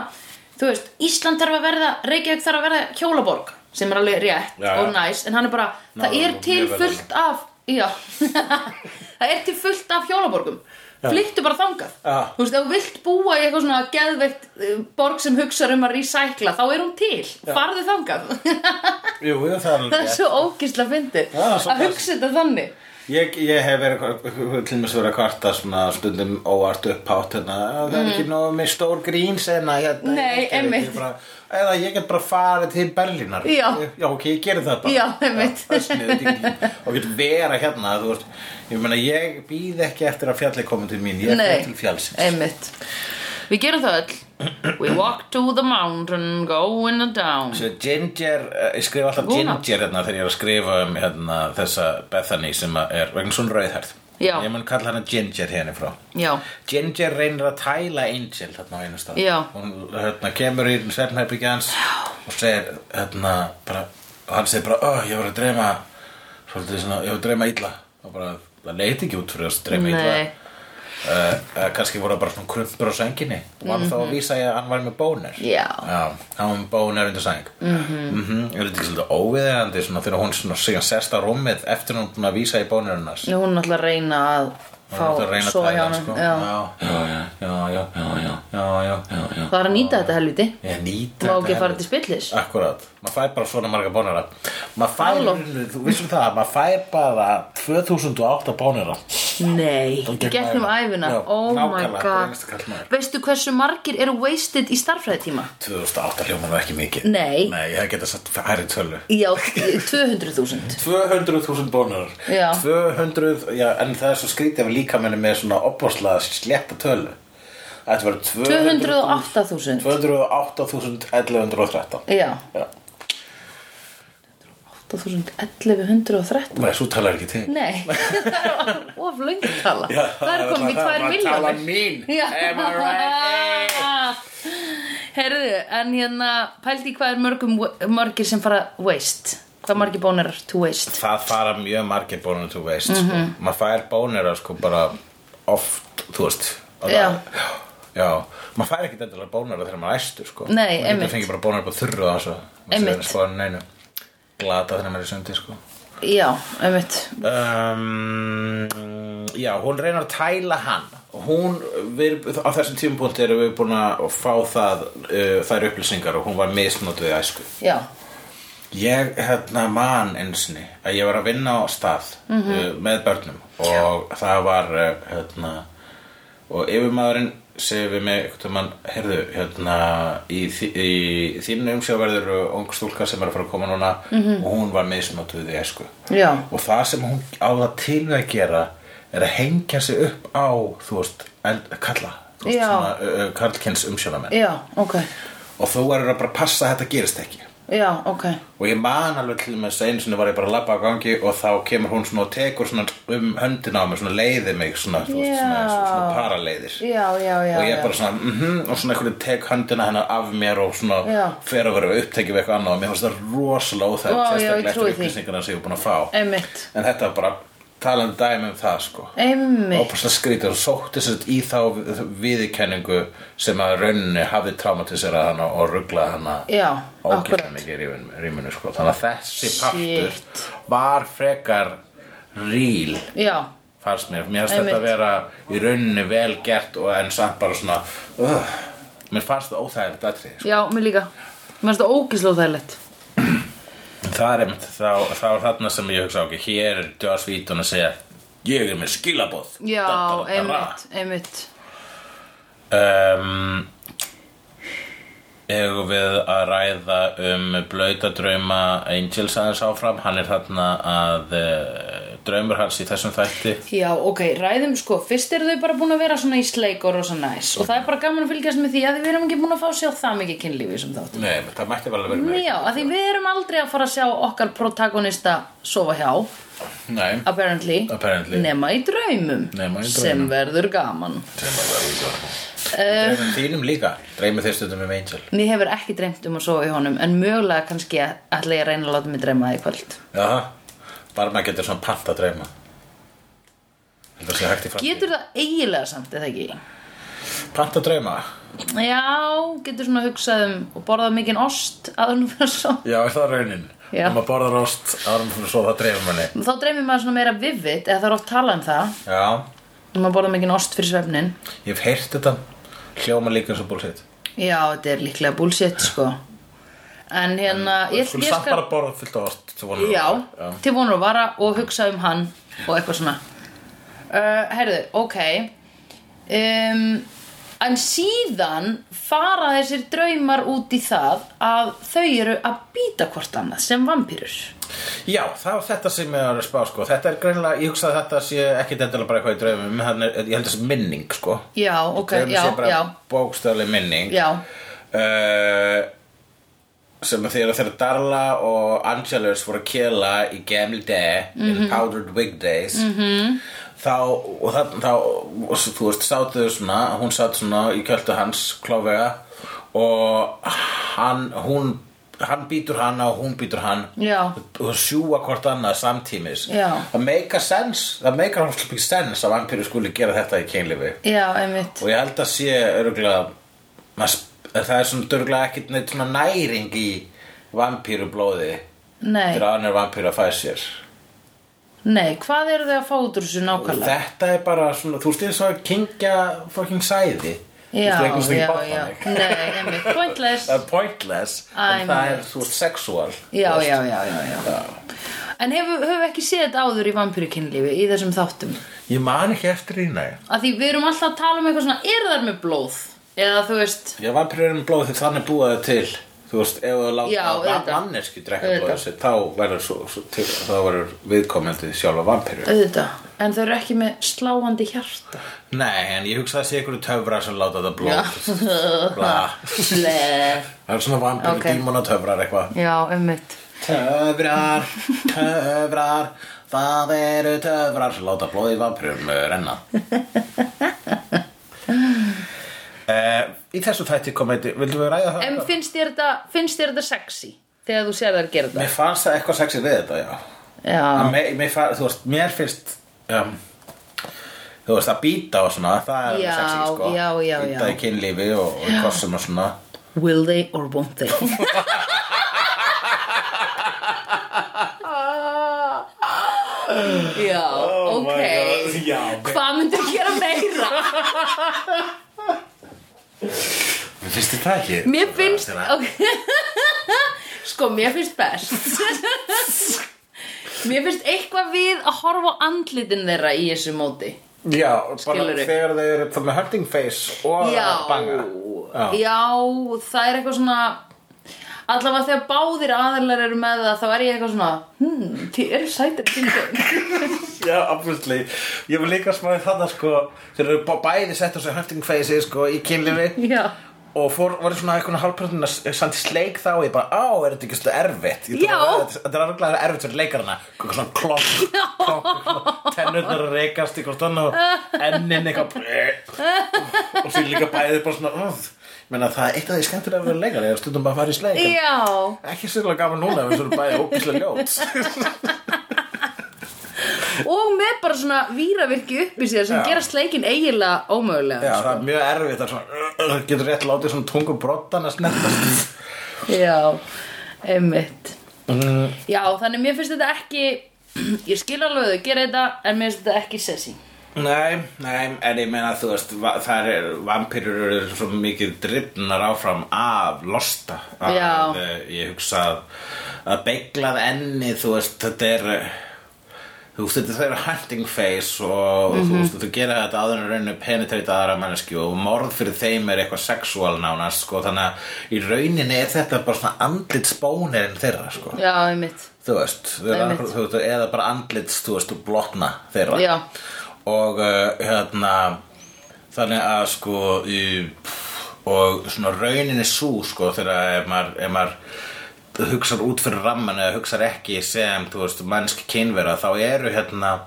Speaker 1: þú veist, Ísland þarf að verða Reykjavík þarf að verða hjólaborg sem er alveg rétt
Speaker 2: Já, já.
Speaker 1: og næs en hann er bara, það
Speaker 2: Nálægur
Speaker 1: er
Speaker 2: og
Speaker 1: til
Speaker 2: mjög vel
Speaker 1: fullt af já, <laughs> það er til fullt af hjólaborgum flyttu bara þangað
Speaker 2: Já.
Speaker 1: þú veist, ef þú vilt búa í eitthvað svona geðveikt eh, borg sem hugsar um að recycla þá er hún til, farðu þangað <laughs>
Speaker 2: Jú, jú, það er alveg
Speaker 1: það er
Speaker 2: rétt.
Speaker 1: svo ógisla fyndið
Speaker 2: Já, svo
Speaker 1: að
Speaker 2: gaman.
Speaker 1: hugsa þetta þannig
Speaker 2: Ég, ég hef verið til mér verið að kvarta svona stundum óvart upphátt hérna, "Ah, það er ekki nóg með stór grín sena hérna,
Speaker 1: Mm. Nei,
Speaker 2: ég get ekki
Speaker 1: einmitt.
Speaker 2: bara, eða ég get bara farið til Berlínar
Speaker 1: Já.
Speaker 2: já ok, ég gerði það bara
Speaker 1: Já, einmitt.
Speaker 2: það er sniðugt, ég get- og get vera hérna þú veist, ég meina ég býð ekki eftir að fjallið komi til mín, ég
Speaker 1: Nei.
Speaker 2: er til fjallsins
Speaker 1: Einmitt Við gerum það öll We walk to the mountain, go in and down
Speaker 2: Svo Ginger, eh, ég skrifa alltaf
Speaker 1: Guna.
Speaker 2: Ginger hérna þegar ég er að skrifa um hérna, þessa Bethany sem að er vegna svona rauðhært
Speaker 1: Já.
Speaker 2: Ég mun kalla hana Ginger hérna frá
Speaker 1: Já,
Speaker 2: Ginger reynir að tæla Angel þarna á einu stað
Speaker 1: Já.
Speaker 2: hún hérna, kemur í svefnherbyggja hans og segir hérna, bara, og hann segir bara "Ó, ég var að dreyma svolítið svona, ég var að dreyma illa og bara, það leit ekki út fyrir að dreyma illa
Speaker 1: nei
Speaker 2: uh, uh, kannski voru það bara svona krumpur á sænginni og hann þá að vísa ég að hann var með bónir
Speaker 1: Mhm. Já. Mhm.
Speaker 2: hann var með bónir undir sæng mm -hmm. er þetta ekki svolítið óviðeigandi svona þegar hún svona síðan sest á rúmið eftir hún er búin að vísa í bónirinn hans
Speaker 1: Nú hún ætla að reyna að
Speaker 2: Hún er alltaf að
Speaker 1: fá
Speaker 2: reyna að
Speaker 1: sofa hjá
Speaker 2: tæla hann,
Speaker 1: hann
Speaker 2: sko.
Speaker 1: Já.
Speaker 2: já, já, já, já, já, já, já, já, já.
Speaker 1: Það er að nýta þetta helviti
Speaker 2: Ég nýta
Speaker 1: Má ekki fara til
Speaker 2: Ah.
Speaker 1: spillis
Speaker 2: Akkurat, maður fær bara svona marga bónara Maður
Speaker 1: Halló.
Speaker 2: fær, þú vissum það, maður fær bara 2008 bónara
Speaker 1: Nei, í
Speaker 2: gegn
Speaker 1: gegnum
Speaker 2: ævina.
Speaker 1: æfina
Speaker 2: Já,
Speaker 1: Oh my
Speaker 2: nákvæmlega, það er einasta
Speaker 1: god
Speaker 2: karlmaður.
Speaker 1: Veistu hversu margir eru wasted í starffræðitíma?
Speaker 2: 2008 hljómar var ekki mikið
Speaker 1: Nei.
Speaker 2: Nei, ég hef getað satt hærri tölu
Speaker 1: Já, 200.000
Speaker 2: 200.000 bónarar
Speaker 1: Já.
Speaker 2: 200, já, en það er svo skrítið af líkamenni með svona opbóðslega slétta tölu Þetta var
Speaker 1: 208.000
Speaker 2: 208.1113
Speaker 1: Já,
Speaker 2: Já,
Speaker 1: 8.1113
Speaker 2: Nei, svo talar ekki til
Speaker 1: Nei, <laughs> það er of lengi tala
Speaker 2: Já,
Speaker 1: Það er komin í
Speaker 2: það
Speaker 1: tvær
Speaker 2: var
Speaker 1: miljónir
Speaker 2: talan mín.
Speaker 1: Já.
Speaker 2: Am I right?
Speaker 1: Herðu, en hérna pældi í hvað er mörgum, margir sem fara waste Hvað margir bónar to waste
Speaker 2: það fara mjög margir bónir þú veist
Speaker 1: Mhm.
Speaker 2: sko. maður fær bónir sko bara oft, þú veist og það-
Speaker 1: Já.
Speaker 2: já, maður fær ekki endilega bónir þegar maður er æstur sko
Speaker 1: Nei,
Speaker 2: maður
Speaker 1: einmitt.
Speaker 2: getur fengið bara bónir bara þurru og það
Speaker 1: Einmitt.
Speaker 2: svo sko, neinu, glata þegar maður er í sundi sko
Speaker 1: Já, einmitt
Speaker 2: um, já, hún reynar að tæla hann hún, við, á þessum tímapunkti erum við búin að fá það uh, þær upplýsingar og hún var misnotuð í æsku
Speaker 1: Já,
Speaker 2: Ég hérna man einsinni að ég var að vinna á stað
Speaker 1: Mhm.
Speaker 2: uh, með börnum og það var uh, hérna og yfirmaðurinn segir við mig einhvern tímann, heyrðu, hérna, í, þi- í þínu umsjá verður ung stúlka sem er að fara að koma núna og hún var misnotuð í esku.
Speaker 1: Mhm. Já.
Speaker 2: Og það sem hún á það til við að gera er að hengja sig upp á, þú veist, eld, kalla, þú veist,
Speaker 1: Já.
Speaker 2: svona, uh, karlkins umsjónamenn.
Speaker 1: Já, ok
Speaker 2: Og þú verður að bara passa að þetta gerist ekki.
Speaker 1: Já, ok
Speaker 2: Og ég man alveg til með þess að einu sinni var ég bara að labba á gangi og þá kemur hún svona og tekur svona um höndina á mig, svona leiði mig, svona, þú veist, svona,
Speaker 1: Já.
Speaker 2: svona, svona paraleiðir.
Speaker 1: Já, já, já
Speaker 2: og ég
Speaker 1: já.
Speaker 2: bara svona, mhm, og svona einhvern veginn tek höndina hennar af mér og svona
Speaker 1: Já.
Speaker 2: fer að vera upptekið við eitthvað annað og mér finnst það rosalega óþægt,
Speaker 1: Vá, já, ég
Speaker 2: sérstaklega eftir
Speaker 1: trúi því.
Speaker 2: upplýsingarna sem ég er búin að fá.
Speaker 1: Einmitt
Speaker 2: En þetta var bara talandi dæmi um það, sko.
Speaker 1: Einmitt
Speaker 2: Ópaslega skrítið og sótti sér í þá viðkenningu sem að rauninni hafði traumatiserað hana og rugglaði hana
Speaker 1: Já,
Speaker 2: ógæðan
Speaker 1: akkurat.
Speaker 2: mikið í ríminu, ríminu sko. þannig að þessi partur
Speaker 1: Shit.
Speaker 2: var frekar ríl
Speaker 1: Já,
Speaker 2: fannst mér, mér fannst þetta
Speaker 1: Einmitt.
Speaker 2: að vera í rauninni vel gert og en samt bara svona uh, mér fannst það óþægilegt atrið sko.
Speaker 1: já, mér líka Mér finnst það ógislega þærlegt
Speaker 2: það er einmitt, þá, þá er þarna sem ég hugsa okkur, hér er Joss Vítun að segja ég er með skilabóð
Speaker 1: Já,
Speaker 2: Da, da, da, da.
Speaker 1: einmitt, einmitt
Speaker 2: um, eigum við að ræða um blautadrauma Angels aðeins áfram hann er þarna að uh, draumur hans í þessum þætti
Speaker 1: Já, ok, ræðum sko, fyrst eru þau bara búin að vera svona í sleik og rosa næs og það er bara gaman að fylgjast með því að við erum ekki búin að fá að sjá það mikið kynlífi sem þátt
Speaker 2: Nei, menn, það mætti vel að vera með
Speaker 1: Já, að því við erum aldrei að fara að sjá okkar protagonista sofa hjá
Speaker 2: Nei,
Speaker 1: apparently,
Speaker 2: Apparently.
Speaker 1: nema í draumum
Speaker 2: Nema í draumum.
Speaker 1: sem verður gaman Eh.
Speaker 2: dreymum þínum líka dreymum þeir stundum um Angel
Speaker 1: Mér hefur ekki dreymt um að sofa í honum en mögulega kannski ætla ég að reyna að láta mig dreyma það í kvöld
Speaker 2: Jaha, bara maður getur svona pant að dreyma Þetta sé hægt í fram
Speaker 1: Getur það eiginlega samt, eða ekki?
Speaker 2: Pant að dreyma?
Speaker 1: Já, getur svona hugsað um og borðað mikinn ost áður en fyrir að sofa
Speaker 2: Já, er það raunin?
Speaker 1: Já.
Speaker 2: Ef maður borðar ost árum fyrir svo það dreymum henni
Speaker 1: Þá dreymir maður svona meira vivid eða það er oft talað um það
Speaker 2: Já,
Speaker 1: og maður borðar mikinn ost fyrir svefnin
Speaker 2: ég hef heyrt þetta hljóma líka eins og bullshit
Speaker 1: Já, þetta er líklega bullshit sko En hérna ég,
Speaker 2: Skulum
Speaker 1: ég
Speaker 2: samt
Speaker 1: skal,
Speaker 2: bara borða fullt á ost til vonum.
Speaker 1: Já, til vonur og vara og hugsa um hann og eitthvað svona uh, Herðu, ok um, En síðan fara þessir draumar út í það að þau eru að býta hvort annað sem vampýrur
Speaker 2: Já, það var þetta sem ég var að spá sko. Þetta er greinlega, ég hugsa að þetta sé ekki dendilega bara eitthvað í draumum Þannig er- Ég held þessi minning sko
Speaker 1: Já, ok,
Speaker 2: Draumur
Speaker 1: já,
Speaker 2: sé bara
Speaker 1: já,
Speaker 2: bókstafleg minning
Speaker 1: já
Speaker 2: uh, sem að þegar þegar Darla og Angelus voru að kela í gamli dag
Speaker 1: Mhm.
Speaker 2: in powdered wig days -hmm. þá, og það, þá og, s- þú veist, sátu þau svona hún sátt svona í kjöldu hans klófega og hann, hún hann býtur hann og hún býtur hann
Speaker 1: Já.
Speaker 2: og sjúa hvort annað samtímis
Speaker 1: Já.
Speaker 2: það make a sense það make a whole sense að vampíru skuli gera þetta í kynlifi
Speaker 1: Já, einmitt
Speaker 2: og ég held að sé örgulega það er svona örgulega ekkit neitt svona næring í vampíru blóði
Speaker 1: Nei,
Speaker 2: þegar annar vampíru að fæða sér
Speaker 1: nei, hvað eru þau að fá út úr þessu
Speaker 2: og
Speaker 1: nákvæmlega?
Speaker 2: þetta er bara svona, þú veist eins og að kingja fucking sæði
Speaker 1: Já,
Speaker 2: þú veist,
Speaker 1: já,
Speaker 2: það er
Speaker 1: já,
Speaker 2: ekki
Speaker 1: nei, einmitt, pointless
Speaker 2: það er pointless
Speaker 1: Æ,
Speaker 2: en það er
Speaker 1: mitt.
Speaker 2: svo sexual
Speaker 1: Já, já, já, já, já En hefur hef ekki séð þetta áður í vampýrukynlífi í þessum þáttum?
Speaker 2: ég man ekki eftir í næg
Speaker 1: Að því við erum alltaf að tala um eitthvað svona er þar með blóð? Eða þú veist,
Speaker 2: já, vampíru erum blóð þegar þannig búa það til þú veist, ef þú
Speaker 1: Já,
Speaker 2: láta
Speaker 1: auðvitað.
Speaker 2: manneski drekka
Speaker 1: Auðvitað.
Speaker 2: blóð sér, þá verður svo, svo, til, þá verður viðkomandi sjálfa vampíru
Speaker 1: auðvitað En þau eru ekki með sláandi hjarta
Speaker 2: Nei, en ég hugsa að það sé ykkur töfrar sem láta þetta blóð <laughs> Bla.
Speaker 1: Ble.
Speaker 2: Það er svona vampir
Speaker 1: Ok.
Speaker 2: okay. dímona töfrar eitthvað
Speaker 1: Já, einmitt
Speaker 2: Töfrar, töfrar Það eru töfrar sem láta blóð í vampirum
Speaker 1: <laughs>
Speaker 2: renna uh, Í þessu þætti kom eitthvað Vildum við ræða það?
Speaker 1: En finnst þér þetta, finnst þér þetta sexy? Þegar þú sér þær gera þetta?
Speaker 2: Mér fannst það eitthvað sexið við þetta, já
Speaker 1: Já,
Speaker 2: mér, mér, fa- Þú veist, mér finnst um, Þú veist, að býta og svona Það er
Speaker 1: Já,
Speaker 2: sexið, sko
Speaker 1: já, já, já.
Speaker 2: Býta í kynlífi og, og í kossum og svona
Speaker 1: will they or won't
Speaker 2: <laughs>
Speaker 1: they? <laughs> Já, ok
Speaker 2: Oh Já,
Speaker 1: Hvað myndir gera meira?
Speaker 2: Mér finnst þér það ekki
Speaker 1: Mér finnst
Speaker 2: Þetta er að-
Speaker 1: ok. <laughs> Sko, mér finnst
Speaker 2: <laughs>
Speaker 1: best Mér finnst eitthvað við að horfa á andlitin þeirra í þessu móti
Speaker 2: Já, bara
Speaker 1: Skilurðu?
Speaker 2: þegar þau eru það með hurting face og
Speaker 1: já,
Speaker 2: banga
Speaker 1: já. það er eitthvað svona allavega þegar báðir aðilar eru með það þá er ég eitthvað svona hmm, þið eru sætir kynfjöld
Speaker 2: Já, obviously Ég var líka smáðið þarna sko Þeir eru bá- bæði sett á þessu hunting face sko í kynlifi
Speaker 1: <laughs> já,
Speaker 2: Og fór, var svona eitthvað hálfperson að samt sleik þá og ég bara, á, er þetta ekki stöð erfitt? Ég
Speaker 1: Já.
Speaker 2: bara, Þetta þetta er alveg erfitt fyrir leikarana Eitthvað svona
Speaker 1: <laughs>
Speaker 2: klokk, klokk Tennurnar að reikast í hvort annað og Ennin eitthvað "Eh." Og svo líka bæði bara svona uh, Ég meina, það er eitt af því skemmtilega að vera leikari Eða stundum bara að fara í sleik en
Speaker 1: já
Speaker 2: Ekki sérlega gaman núna ef við svo bæði ógislega ljót
Speaker 1: og með bara svona víravirki upp í sér sem
Speaker 2: Já.
Speaker 1: gera sleikin eiginlega ómögulega
Speaker 2: Já, það er mjög erfitt það er svona, það getur rétt látið svona tungu brottan að snertast
Speaker 1: Já, einmitt Já, þannig mér finnst þetta ekki <clears throat> Ég skil alveg að þau gera þetta En mér finnst þetta ekki sessi
Speaker 2: Nei, nei, en ég meina þú veist va- það er, vampýrur eru svo mikið drifnar áfram af losta að,
Speaker 1: Já.
Speaker 2: eh, ég hugsa að, að beiglað enni þú veist, þetta er eh, þú veist, þetta er hunting face og þú
Speaker 1: Mhm.
Speaker 2: veist, þú gera þetta áður en rauninu penetrita aðra manneski og morð fyrir þeim er eitthvað sexual nánast sko, þannig að í rauninni er þetta bara svona andlit spónirinn þeirra sko.
Speaker 1: Já, einmitt
Speaker 2: þú veist, þau eru
Speaker 1: Einmitt.
Speaker 2: annað, þú veist eða bara andlits, þú veist, og blotna þeirra
Speaker 1: Já.
Speaker 2: og uh, hérna þannig að sko í, og svona rauninni sú sko þegar ef maður, ef maður hugsar út fyrir ramman eða hugsar ekki sem, þú veist, mannski kynvera þá eru hérna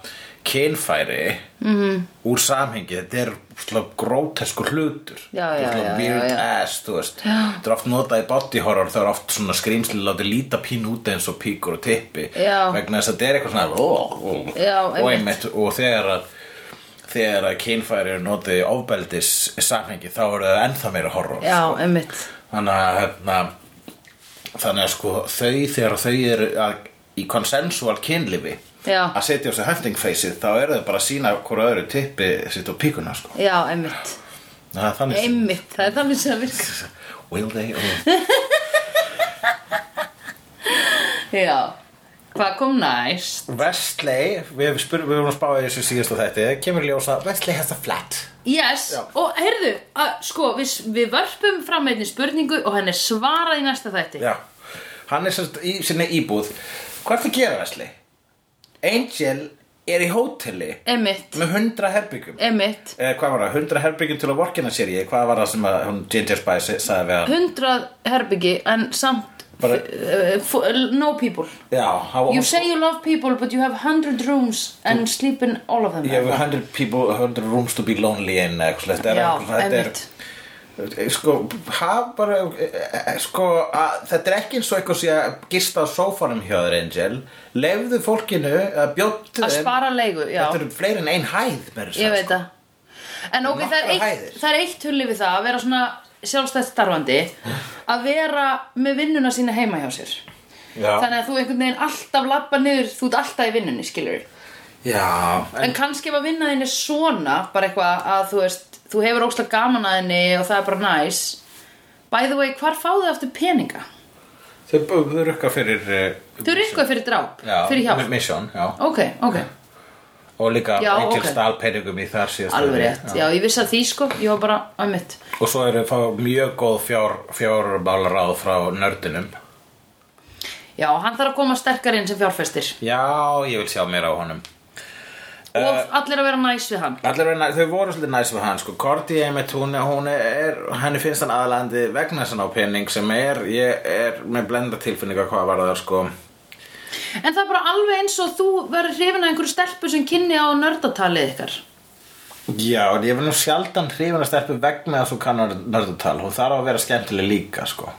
Speaker 2: kynfæri -hmm.
Speaker 1: Mhm.
Speaker 2: úr samhengi þetta er svona grótesku hlutur
Speaker 1: Já,
Speaker 2: Þetta er
Speaker 1: já,
Speaker 2: svona
Speaker 1: já,
Speaker 2: weird
Speaker 1: já, já.
Speaker 2: ass, þú veist Þetta er oft notað í body horror Það er oft svona skrýmsli látið líta pín út eins og píkur og tippi
Speaker 1: Já.
Speaker 2: Vegna þess að þetta er eitthvað svona ó, ó,
Speaker 1: Já,
Speaker 2: Og einmitt Og þegar að þegar að kynfæri eru notið í ofbeldis samhengi þá eru það ennþá meira horror
Speaker 1: Já, einmitt
Speaker 2: þannig að hérna, þannig að sko þau þegar þau eru að, í konsensual kynlifi
Speaker 1: Já.
Speaker 2: að setja á sig hunting faceið þá eru þau bara að sína hvora öðru tippi sitt á píkuna sko
Speaker 1: Já, einmitt
Speaker 2: það er þannig sem-
Speaker 1: Einmitt, það er þannig sem það virkar
Speaker 2: Will they or
Speaker 1: Já, hvað kom næst?
Speaker 2: Vestley, við spyrum, við vorum að spáði þessu síðast á þetta, kemur í ljós að Vestley has a flat.
Speaker 1: Yes,
Speaker 2: Já.
Speaker 1: og heyrðu, að, sko, við, við varpum fram einni spurningu og henni svarað í næsta þætti
Speaker 2: Já, hann er sérst í sinni íbúð. Hvað er það að gera Vestley? Angel er í hóteli
Speaker 1: Einmitt,
Speaker 2: með hundra herbyggjum.
Speaker 1: einmitt
Speaker 2: Eh, hvað var það, hundra herbyggjum til að vorkina sér ég, hvað var það sem að hún Ginger Spice sagði við hann?
Speaker 1: 100 herbyggi en samt
Speaker 2: Bara-
Speaker 1: uh, fu- no people
Speaker 2: Já, hann
Speaker 1: You say you love people but you have 100 rooms and sleep in all of them
Speaker 2: You have 100 people, 100 rooms to be lonely in eða eitthvað slett.
Speaker 1: Já,
Speaker 2: þetta er,
Speaker 1: einmitt.
Speaker 2: sko, haf bara eh, sko, að, þetta er ekki eins og eitthvað sé að gista á sófanum hjá þér Angel, lefðu fólkinu að bjóttu
Speaker 1: Að spara leigu, já
Speaker 2: þetta eru fleiri en ein hæð meira að segja,
Speaker 1: Ég veit
Speaker 2: sko.
Speaker 1: það En ok, það er,
Speaker 2: Nokkrar
Speaker 1: eitt,
Speaker 2: hæðir.
Speaker 1: það er eitt hulli við það að vera svona sjálfstætt starfandi að vera með vinnuna sína heima hjá sér
Speaker 2: já,
Speaker 1: Þannig að þú einhvern veginn alltaf labba niður, þú ert alltaf í vinnunni, skilur
Speaker 2: já
Speaker 1: En kannski ef að vinna þinn er svona bara eitthvað að þú veist þú hefur óslega gaman að henni og það er bara næs By the way, hvar fáðu aftur peninga?
Speaker 2: þau bu- þau rukka fyrir eh,
Speaker 1: Þau eru eitthvað fyrir dráp,
Speaker 2: já,
Speaker 1: fyrir hjálp
Speaker 2: mission, já,
Speaker 1: Ok, ok,
Speaker 2: og líka
Speaker 1: Já,
Speaker 2: Angel
Speaker 1: ok.
Speaker 2: okay. stálpeningum í þar síðast
Speaker 1: alveg rétt Já, ég vissi að því sko, ég var bara að mitt
Speaker 2: og svo eru fá mjög góð fjár, fjárbálaráð frá nördinum
Speaker 1: Já, hann þarf að koma sterkar inn sem fjárfestir
Speaker 2: já, ég vil sjá meira á honum Eh.
Speaker 1: Og allir að vera næs við hann
Speaker 2: Allir verið, næ- þau voru svolítið næs við hann sko. Korti einmitt, hún, hún er henni finnst hann aðlandi vegna sinna á pening sem er, ég er með blenda tilfinninga hvað var það sko
Speaker 1: En það er bara alveg eins og þú verður hrifin að einhverju stelpu sem kynni á nördatalið ykkar
Speaker 2: Já, en ég vil nú sjaldan hrifin að steppu vegna þess að þú kannar nördutal hún þarf að vera skemmtileg líka sko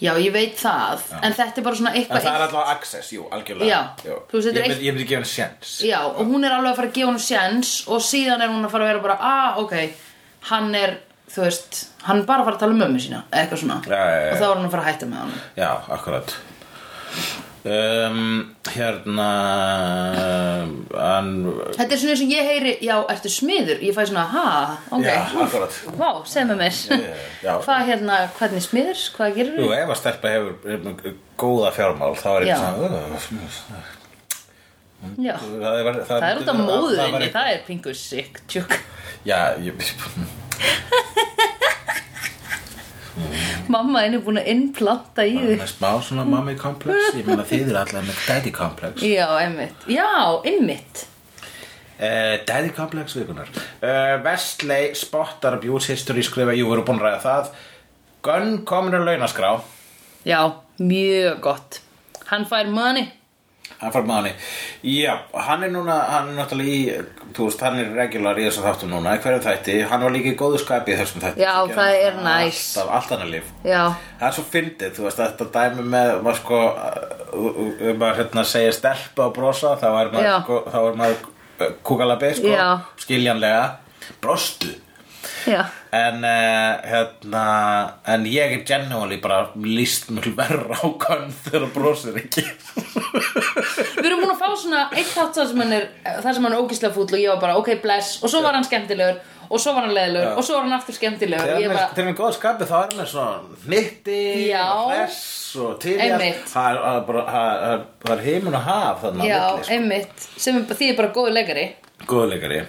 Speaker 1: Já, ég veit það, en þetta er bara svona
Speaker 2: En
Speaker 1: eitthvað
Speaker 2: það er allavega access, jú, algjörlega
Speaker 1: Já,
Speaker 2: jú.
Speaker 1: þú veist, þetta er
Speaker 2: Ég
Speaker 1: eitt-
Speaker 2: myndi- ég myndi gefa henni sjens
Speaker 1: Já, og hún er alveg að fara að gefa hún sjens og síðan er hún að fara að vera bara ah, ok, hann er, þú veist hann er bara að fara að tala um mömmu sína, eða eitthvað svona
Speaker 2: Já, já, já.
Speaker 1: og þá er hún að fara að hætta með hann
Speaker 2: Já, akkurat um, Hérna Hann
Speaker 1: Þetta er svona eins og ég heyri, já, ertu smiður? Ég fæ svona, ha, ok
Speaker 2: Já, akkurat Eh,
Speaker 1: Vá, segð mér mér
Speaker 2: já.
Speaker 1: Hvað hérna, hvernig smiður, hvað gerir
Speaker 2: Jú,
Speaker 1: þú?
Speaker 2: ef að stelpa hefur eh, góða fjármál þá er
Speaker 1: Já.
Speaker 2: eitthvað svona "Ugh,
Speaker 1: Já.
Speaker 2: Það er, það
Speaker 1: Það er út af móðurinni,
Speaker 2: var-
Speaker 1: það er pingu sick tjúk.
Speaker 2: Já, ég,
Speaker 1: Mamma henni er búin að innplanta í þig.
Speaker 2: með smá svona mommy complex Ég meina þið eru allar með daddy complex
Speaker 1: Já, einmitt. Já, einmitt.
Speaker 2: Uh, Daddy Complex vikunar uh, Vestley spottar abuse history skrifa Jú, við erum búin að ræða það Gunn komin að launaskrá
Speaker 1: Já, mjög gott. Hann fær money.
Speaker 2: Hann fær maður Já, hann er núna, hann er náttúrulega í Þú veist, hann er regular í þessum þáttum núna í Hverjum þætti, hann var líka í góðu skapi í þessum þætti
Speaker 1: Já,
Speaker 2: Gerði
Speaker 1: það er næs.
Speaker 2: Alltaf, allt annað líf
Speaker 1: Já,
Speaker 2: Það er svo fyndið, þú veist, þetta dæmi með maður sko, um að hérna segja stelpa og brosa, þá er maður,
Speaker 1: Já.
Speaker 2: sko, þá er maður uh, kúkalabi, sko,
Speaker 1: Já.
Speaker 2: skiljanlega, brostu.
Speaker 1: já.
Speaker 2: En, uh, hérna, en ég er generally bara líst mjög verra á kann þegar hann brosir ekki.
Speaker 1: Við erum búin að fá svona eitt þátt þar sem hann er, þar sem hann er ógislega fúll og ég var bara, ok, bless, og svo var hann skemmtilegur, og svo var hann leðilegur, og svo var hann aftur skemmtilegur. og
Speaker 2: Þegar
Speaker 1: Ég
Speaker 2: hann er-
Speaker 1: bara,
Speaker 2: þegar hann er góð skapið þá er hann svona hnitti,
Speaker 1: Já.
Speaker 2: hress og til í allt.
Speaker 1: Einmitt.
Speaker 2: Það er- það er bara- það er- það er heimun að haf þannig að
Speaker 1: já,
Speaker 2: milli, sko.
Speaker 1: einmitt, sem er, því er bara góður leikari.
Speaker 2: Góðleikari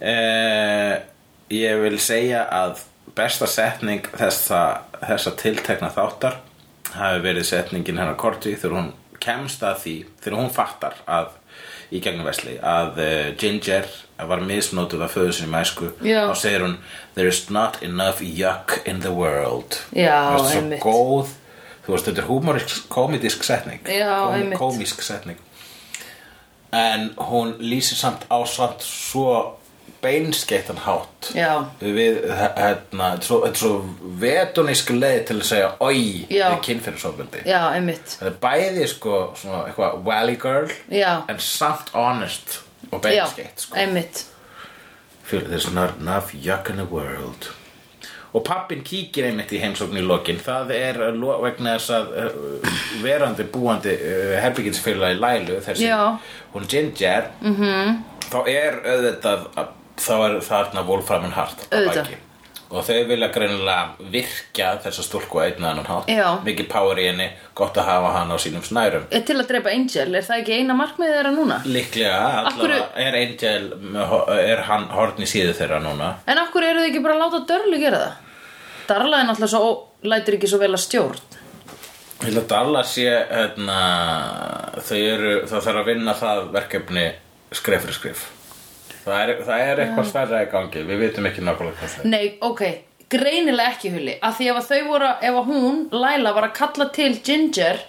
Speaker 2: eh, Ég vil segja að besta setning þessa, þessa tiltekna þáttar hafi verið setningin hennar Korti þegar hún kemst að því þegar hún fattar að í gegnum vesli að eh, Ginger var misnótuð af föðu sinni mæsku
Speaker 1: Já.
Speaker 2: þá segir hún There is not enough yuck in the world
Speaker 1: Já,
Speaker 2: Þú veist, svo
Speaker 1: einmitt.
Speaker 2: góð, þú veist þetta er humorisk komedisk setning
Speaker 1: Já, einmitt.
Speaker 2: komísk setning en hún lýsir samt á samt svo beinskeittan hátt
Speaker 1: Já.
Speaker 2: við hérna, þetta er svo, þetta er svo vetunísk leið til að segja oi
Speaker 1: Já.
Speaker 2: við kynfyrirsofbeldi
Speaker 1: Já, einmitt.
Speaker 2: þetta er bæði sko svona eitthvað valley girl
Speaker 1: Já.
Speaker 2: en samt honest og
Speaker 1: Já,
Speaker 2: beinskeitt sko.
Speaker 1: einmitt.
Speaker 2: Feel there's not enough yuck in the world Og pappin kíkir einmitt í heimsókn í lokin Það er uh, lo- vegna þess að uh, verandi búandi uh, herbygginsfélagi Lælu þessi,
Speaker 1: Já. Mhm.
Speaker 2: hún Ginger -hmm. þá er auðvitað að- þá er þarna Wolframin Hart að
Speaker 1: Auðvitað.
Speaker 2: baki. og þau vilja greinilega virkja þessa stúlku að einn eða annan hátt
Speaker 1: Já.
Speaker 2: mikið power í henni, gott að hafa hann á sínum snærum
Speaker 1: Eh, Til að drepa Angel, er það ekki eina markmiðið þeirra núna? hverju-
Speaker 2: Líklega, allavega er Angel með ho- er hann horn í síðu þeirra núna
Speaker 1: En akkur eru þið ekki bara að láta Dörlu gera það? Darla er náttúrulega svo, lætur ekki svo vel að stjórn.
Speaker 2: Ég held að Dalla sé hérna, þau eru, það þarf að vinna það verkefni skref fyrir skref það er, það er eitthvað stærra í gangi við vitum ekki nákvæmlega hvað það er
Speaker 1: Nei, ok, greinilega ekki huli. Af því ef að þau voru, ef að hún, Laila, var að kalla til Ginger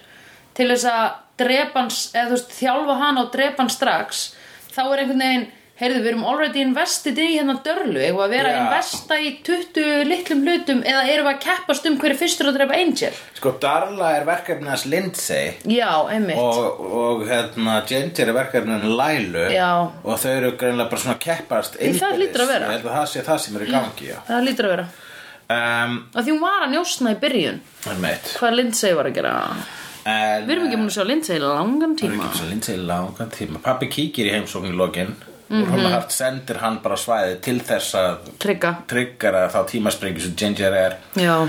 Speaker 1: til þess að drepa hans, eða þú veist, þjálfa hana og drepa hann strax, þá er einhvern veginn, heyrðu, við erum already invested í hérna Dörlu, eigum við að vera
Speaker 2: Já.
Speaker 1: að investa í 20 litlum hlutum eða erum við að keppast um hverju fyrstur að drepa Angel?
Speaker 2: Sko Dalla er verkefni hans Lindsay
Speaker 1: Já, einmitt.
Speaker 2: og, og hérna Ginger er verkefni hans Lailu
Speaker 1: Já.
Speaker 2: og þau eru greinlega bara svona að keppast
Speaker 1: Í það
Speaker 2: innbyrðis.
Speaker 1: hlýtur að vera.
Speaker 2: Ég held að það sé það sem er í gangi já.
Speaker 1: Það lítur að vera.
Speaker 2: um,
Speaker 1: Af því hún var að njósna í byrjun.
Speaker 2: einmitt.
Speaker 1: Hvað Lindsay var að gera?
Speaker 2: En,
Speaker 1: Við erum ekki múin að sjá Lindsay í langan
Speaker 2: Það er
Speaker 1: tíma.
Speaker 2: ekki svo lindsið í langan tíma Pappi kíkir í heimsókn í lokin mm
Speaker 1: Mhm.
Speaker 2: -hmm. Hart sendir hann bara á svæðið til þess að
Speaker 1: Trygga.
Speaker 2: tryggara þá tímasprengi sem Ginger er
Speaker 1: Já.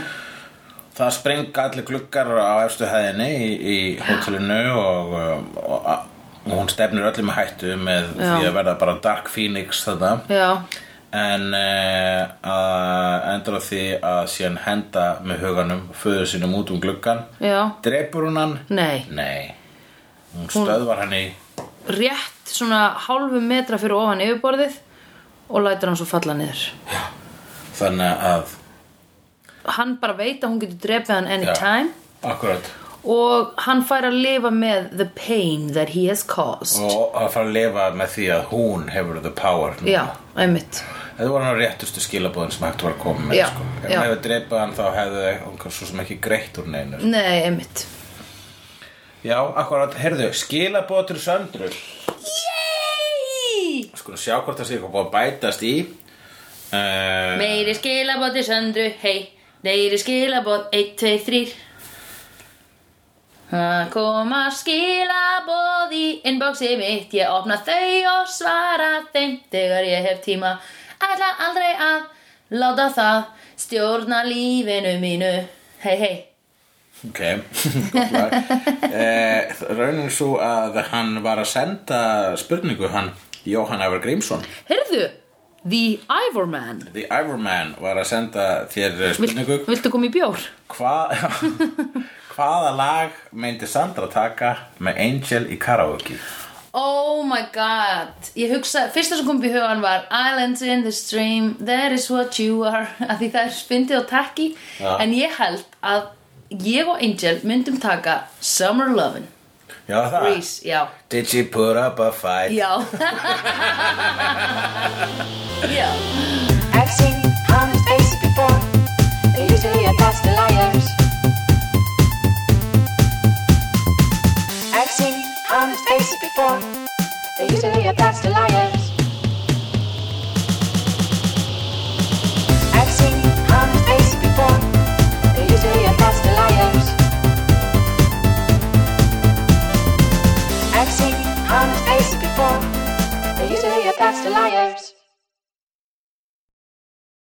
Speaker 2: það sprenga allir gluggar á efstu hæðinni í, í hótelinu og, um, og, a- og hún stefnir öllum í hættu með
Speaker 1: Já.
Speaker 2: því að verða bara Dark Phoenix þetta
Speaker 1: Já.
Speaker 2: en uh, að endur á því að síðan henda með huganum föður sínum út um gluggan
Speaker 1: Já.
Speaker 2: drepur hún hann?
Speaker 1: Nei.
Speaker 2: Nei hún stöðvar hann í
Speaker 1: Rétt svona hálfu metra fyrir ofan yfirborðið og lætur hann svo falla niður.
Speaker 2: þannig að
Speaker 1: Hann bara veit að hún getur drefið hann anytime
Speaker 2: akkurat
Speaker 1: og hann fær að lifa með the pain that he has caused.
Speaker 2: og að fara að lifa með því að hún hefur the power núna.
Speaker 1: Já, einmitt.
Speaker 2: Þetta voru hann réttustu skilabóðin sem hægt var að koma með
Speaker 1: Já,
Speaker 2: sko. Ef
Speaker 1: já.
Speaker 2: hann hefði dreipað hann þá hefði hann svo sem ekki greitt úr neinu sko.
Speaker 1: Nei, einmitt.
Speaker 2: Já, akkurat, heyrðu, skilabóð til söndru
Speaker 1: Yay!
Speaker 2: Skulum sjá hvort það sé eitthvað búið að bætast í uh,
Speaker 1: Meiri skilabóð til söndru, hei Meiri skilabóð, 1, 2, 3 Það koma skilabóð í inboxið mitt Ég opna þau og svara þeim Þegar ég hef tíma Ætla aldrei að láta það Stjórna lífinu mínu Hei, hei
Speaker 2: Ok, <laughs> gott lag eh, Raunin svo að hann var að senda spurningu hann Jóhann Ævar Grímsson
Speaker 1: Heyrðu, The Ivor Man
Speaker 2: The Iverman var að senda þér eh,
Speaker 1: Vil,
Speaker 2: spurningu
Speaker 1: Viltu koma í bjór?
Speaker 2: Hva, <laughs> Hvaða lag myndi Sandra taka með Angel í karaoke?
Speaker 1: Oh my god Ég hugsa, fyrsta sem kom upp í hugan var Islands in the stream, that is what you are <laughs> að því það er spyndið og takki
Speaker 2: Já.
Speaker 1: en ég held að ég og Angel myndum taka Summer Lovin'
Speaker 2: Já það
Speaker 1: Grease, já,
Speaker 2: Did she put up a fight?
Speaker 1: já <laughs> Já,
Speaker 4: I've seen honest faces before. They're usually a pass to liars.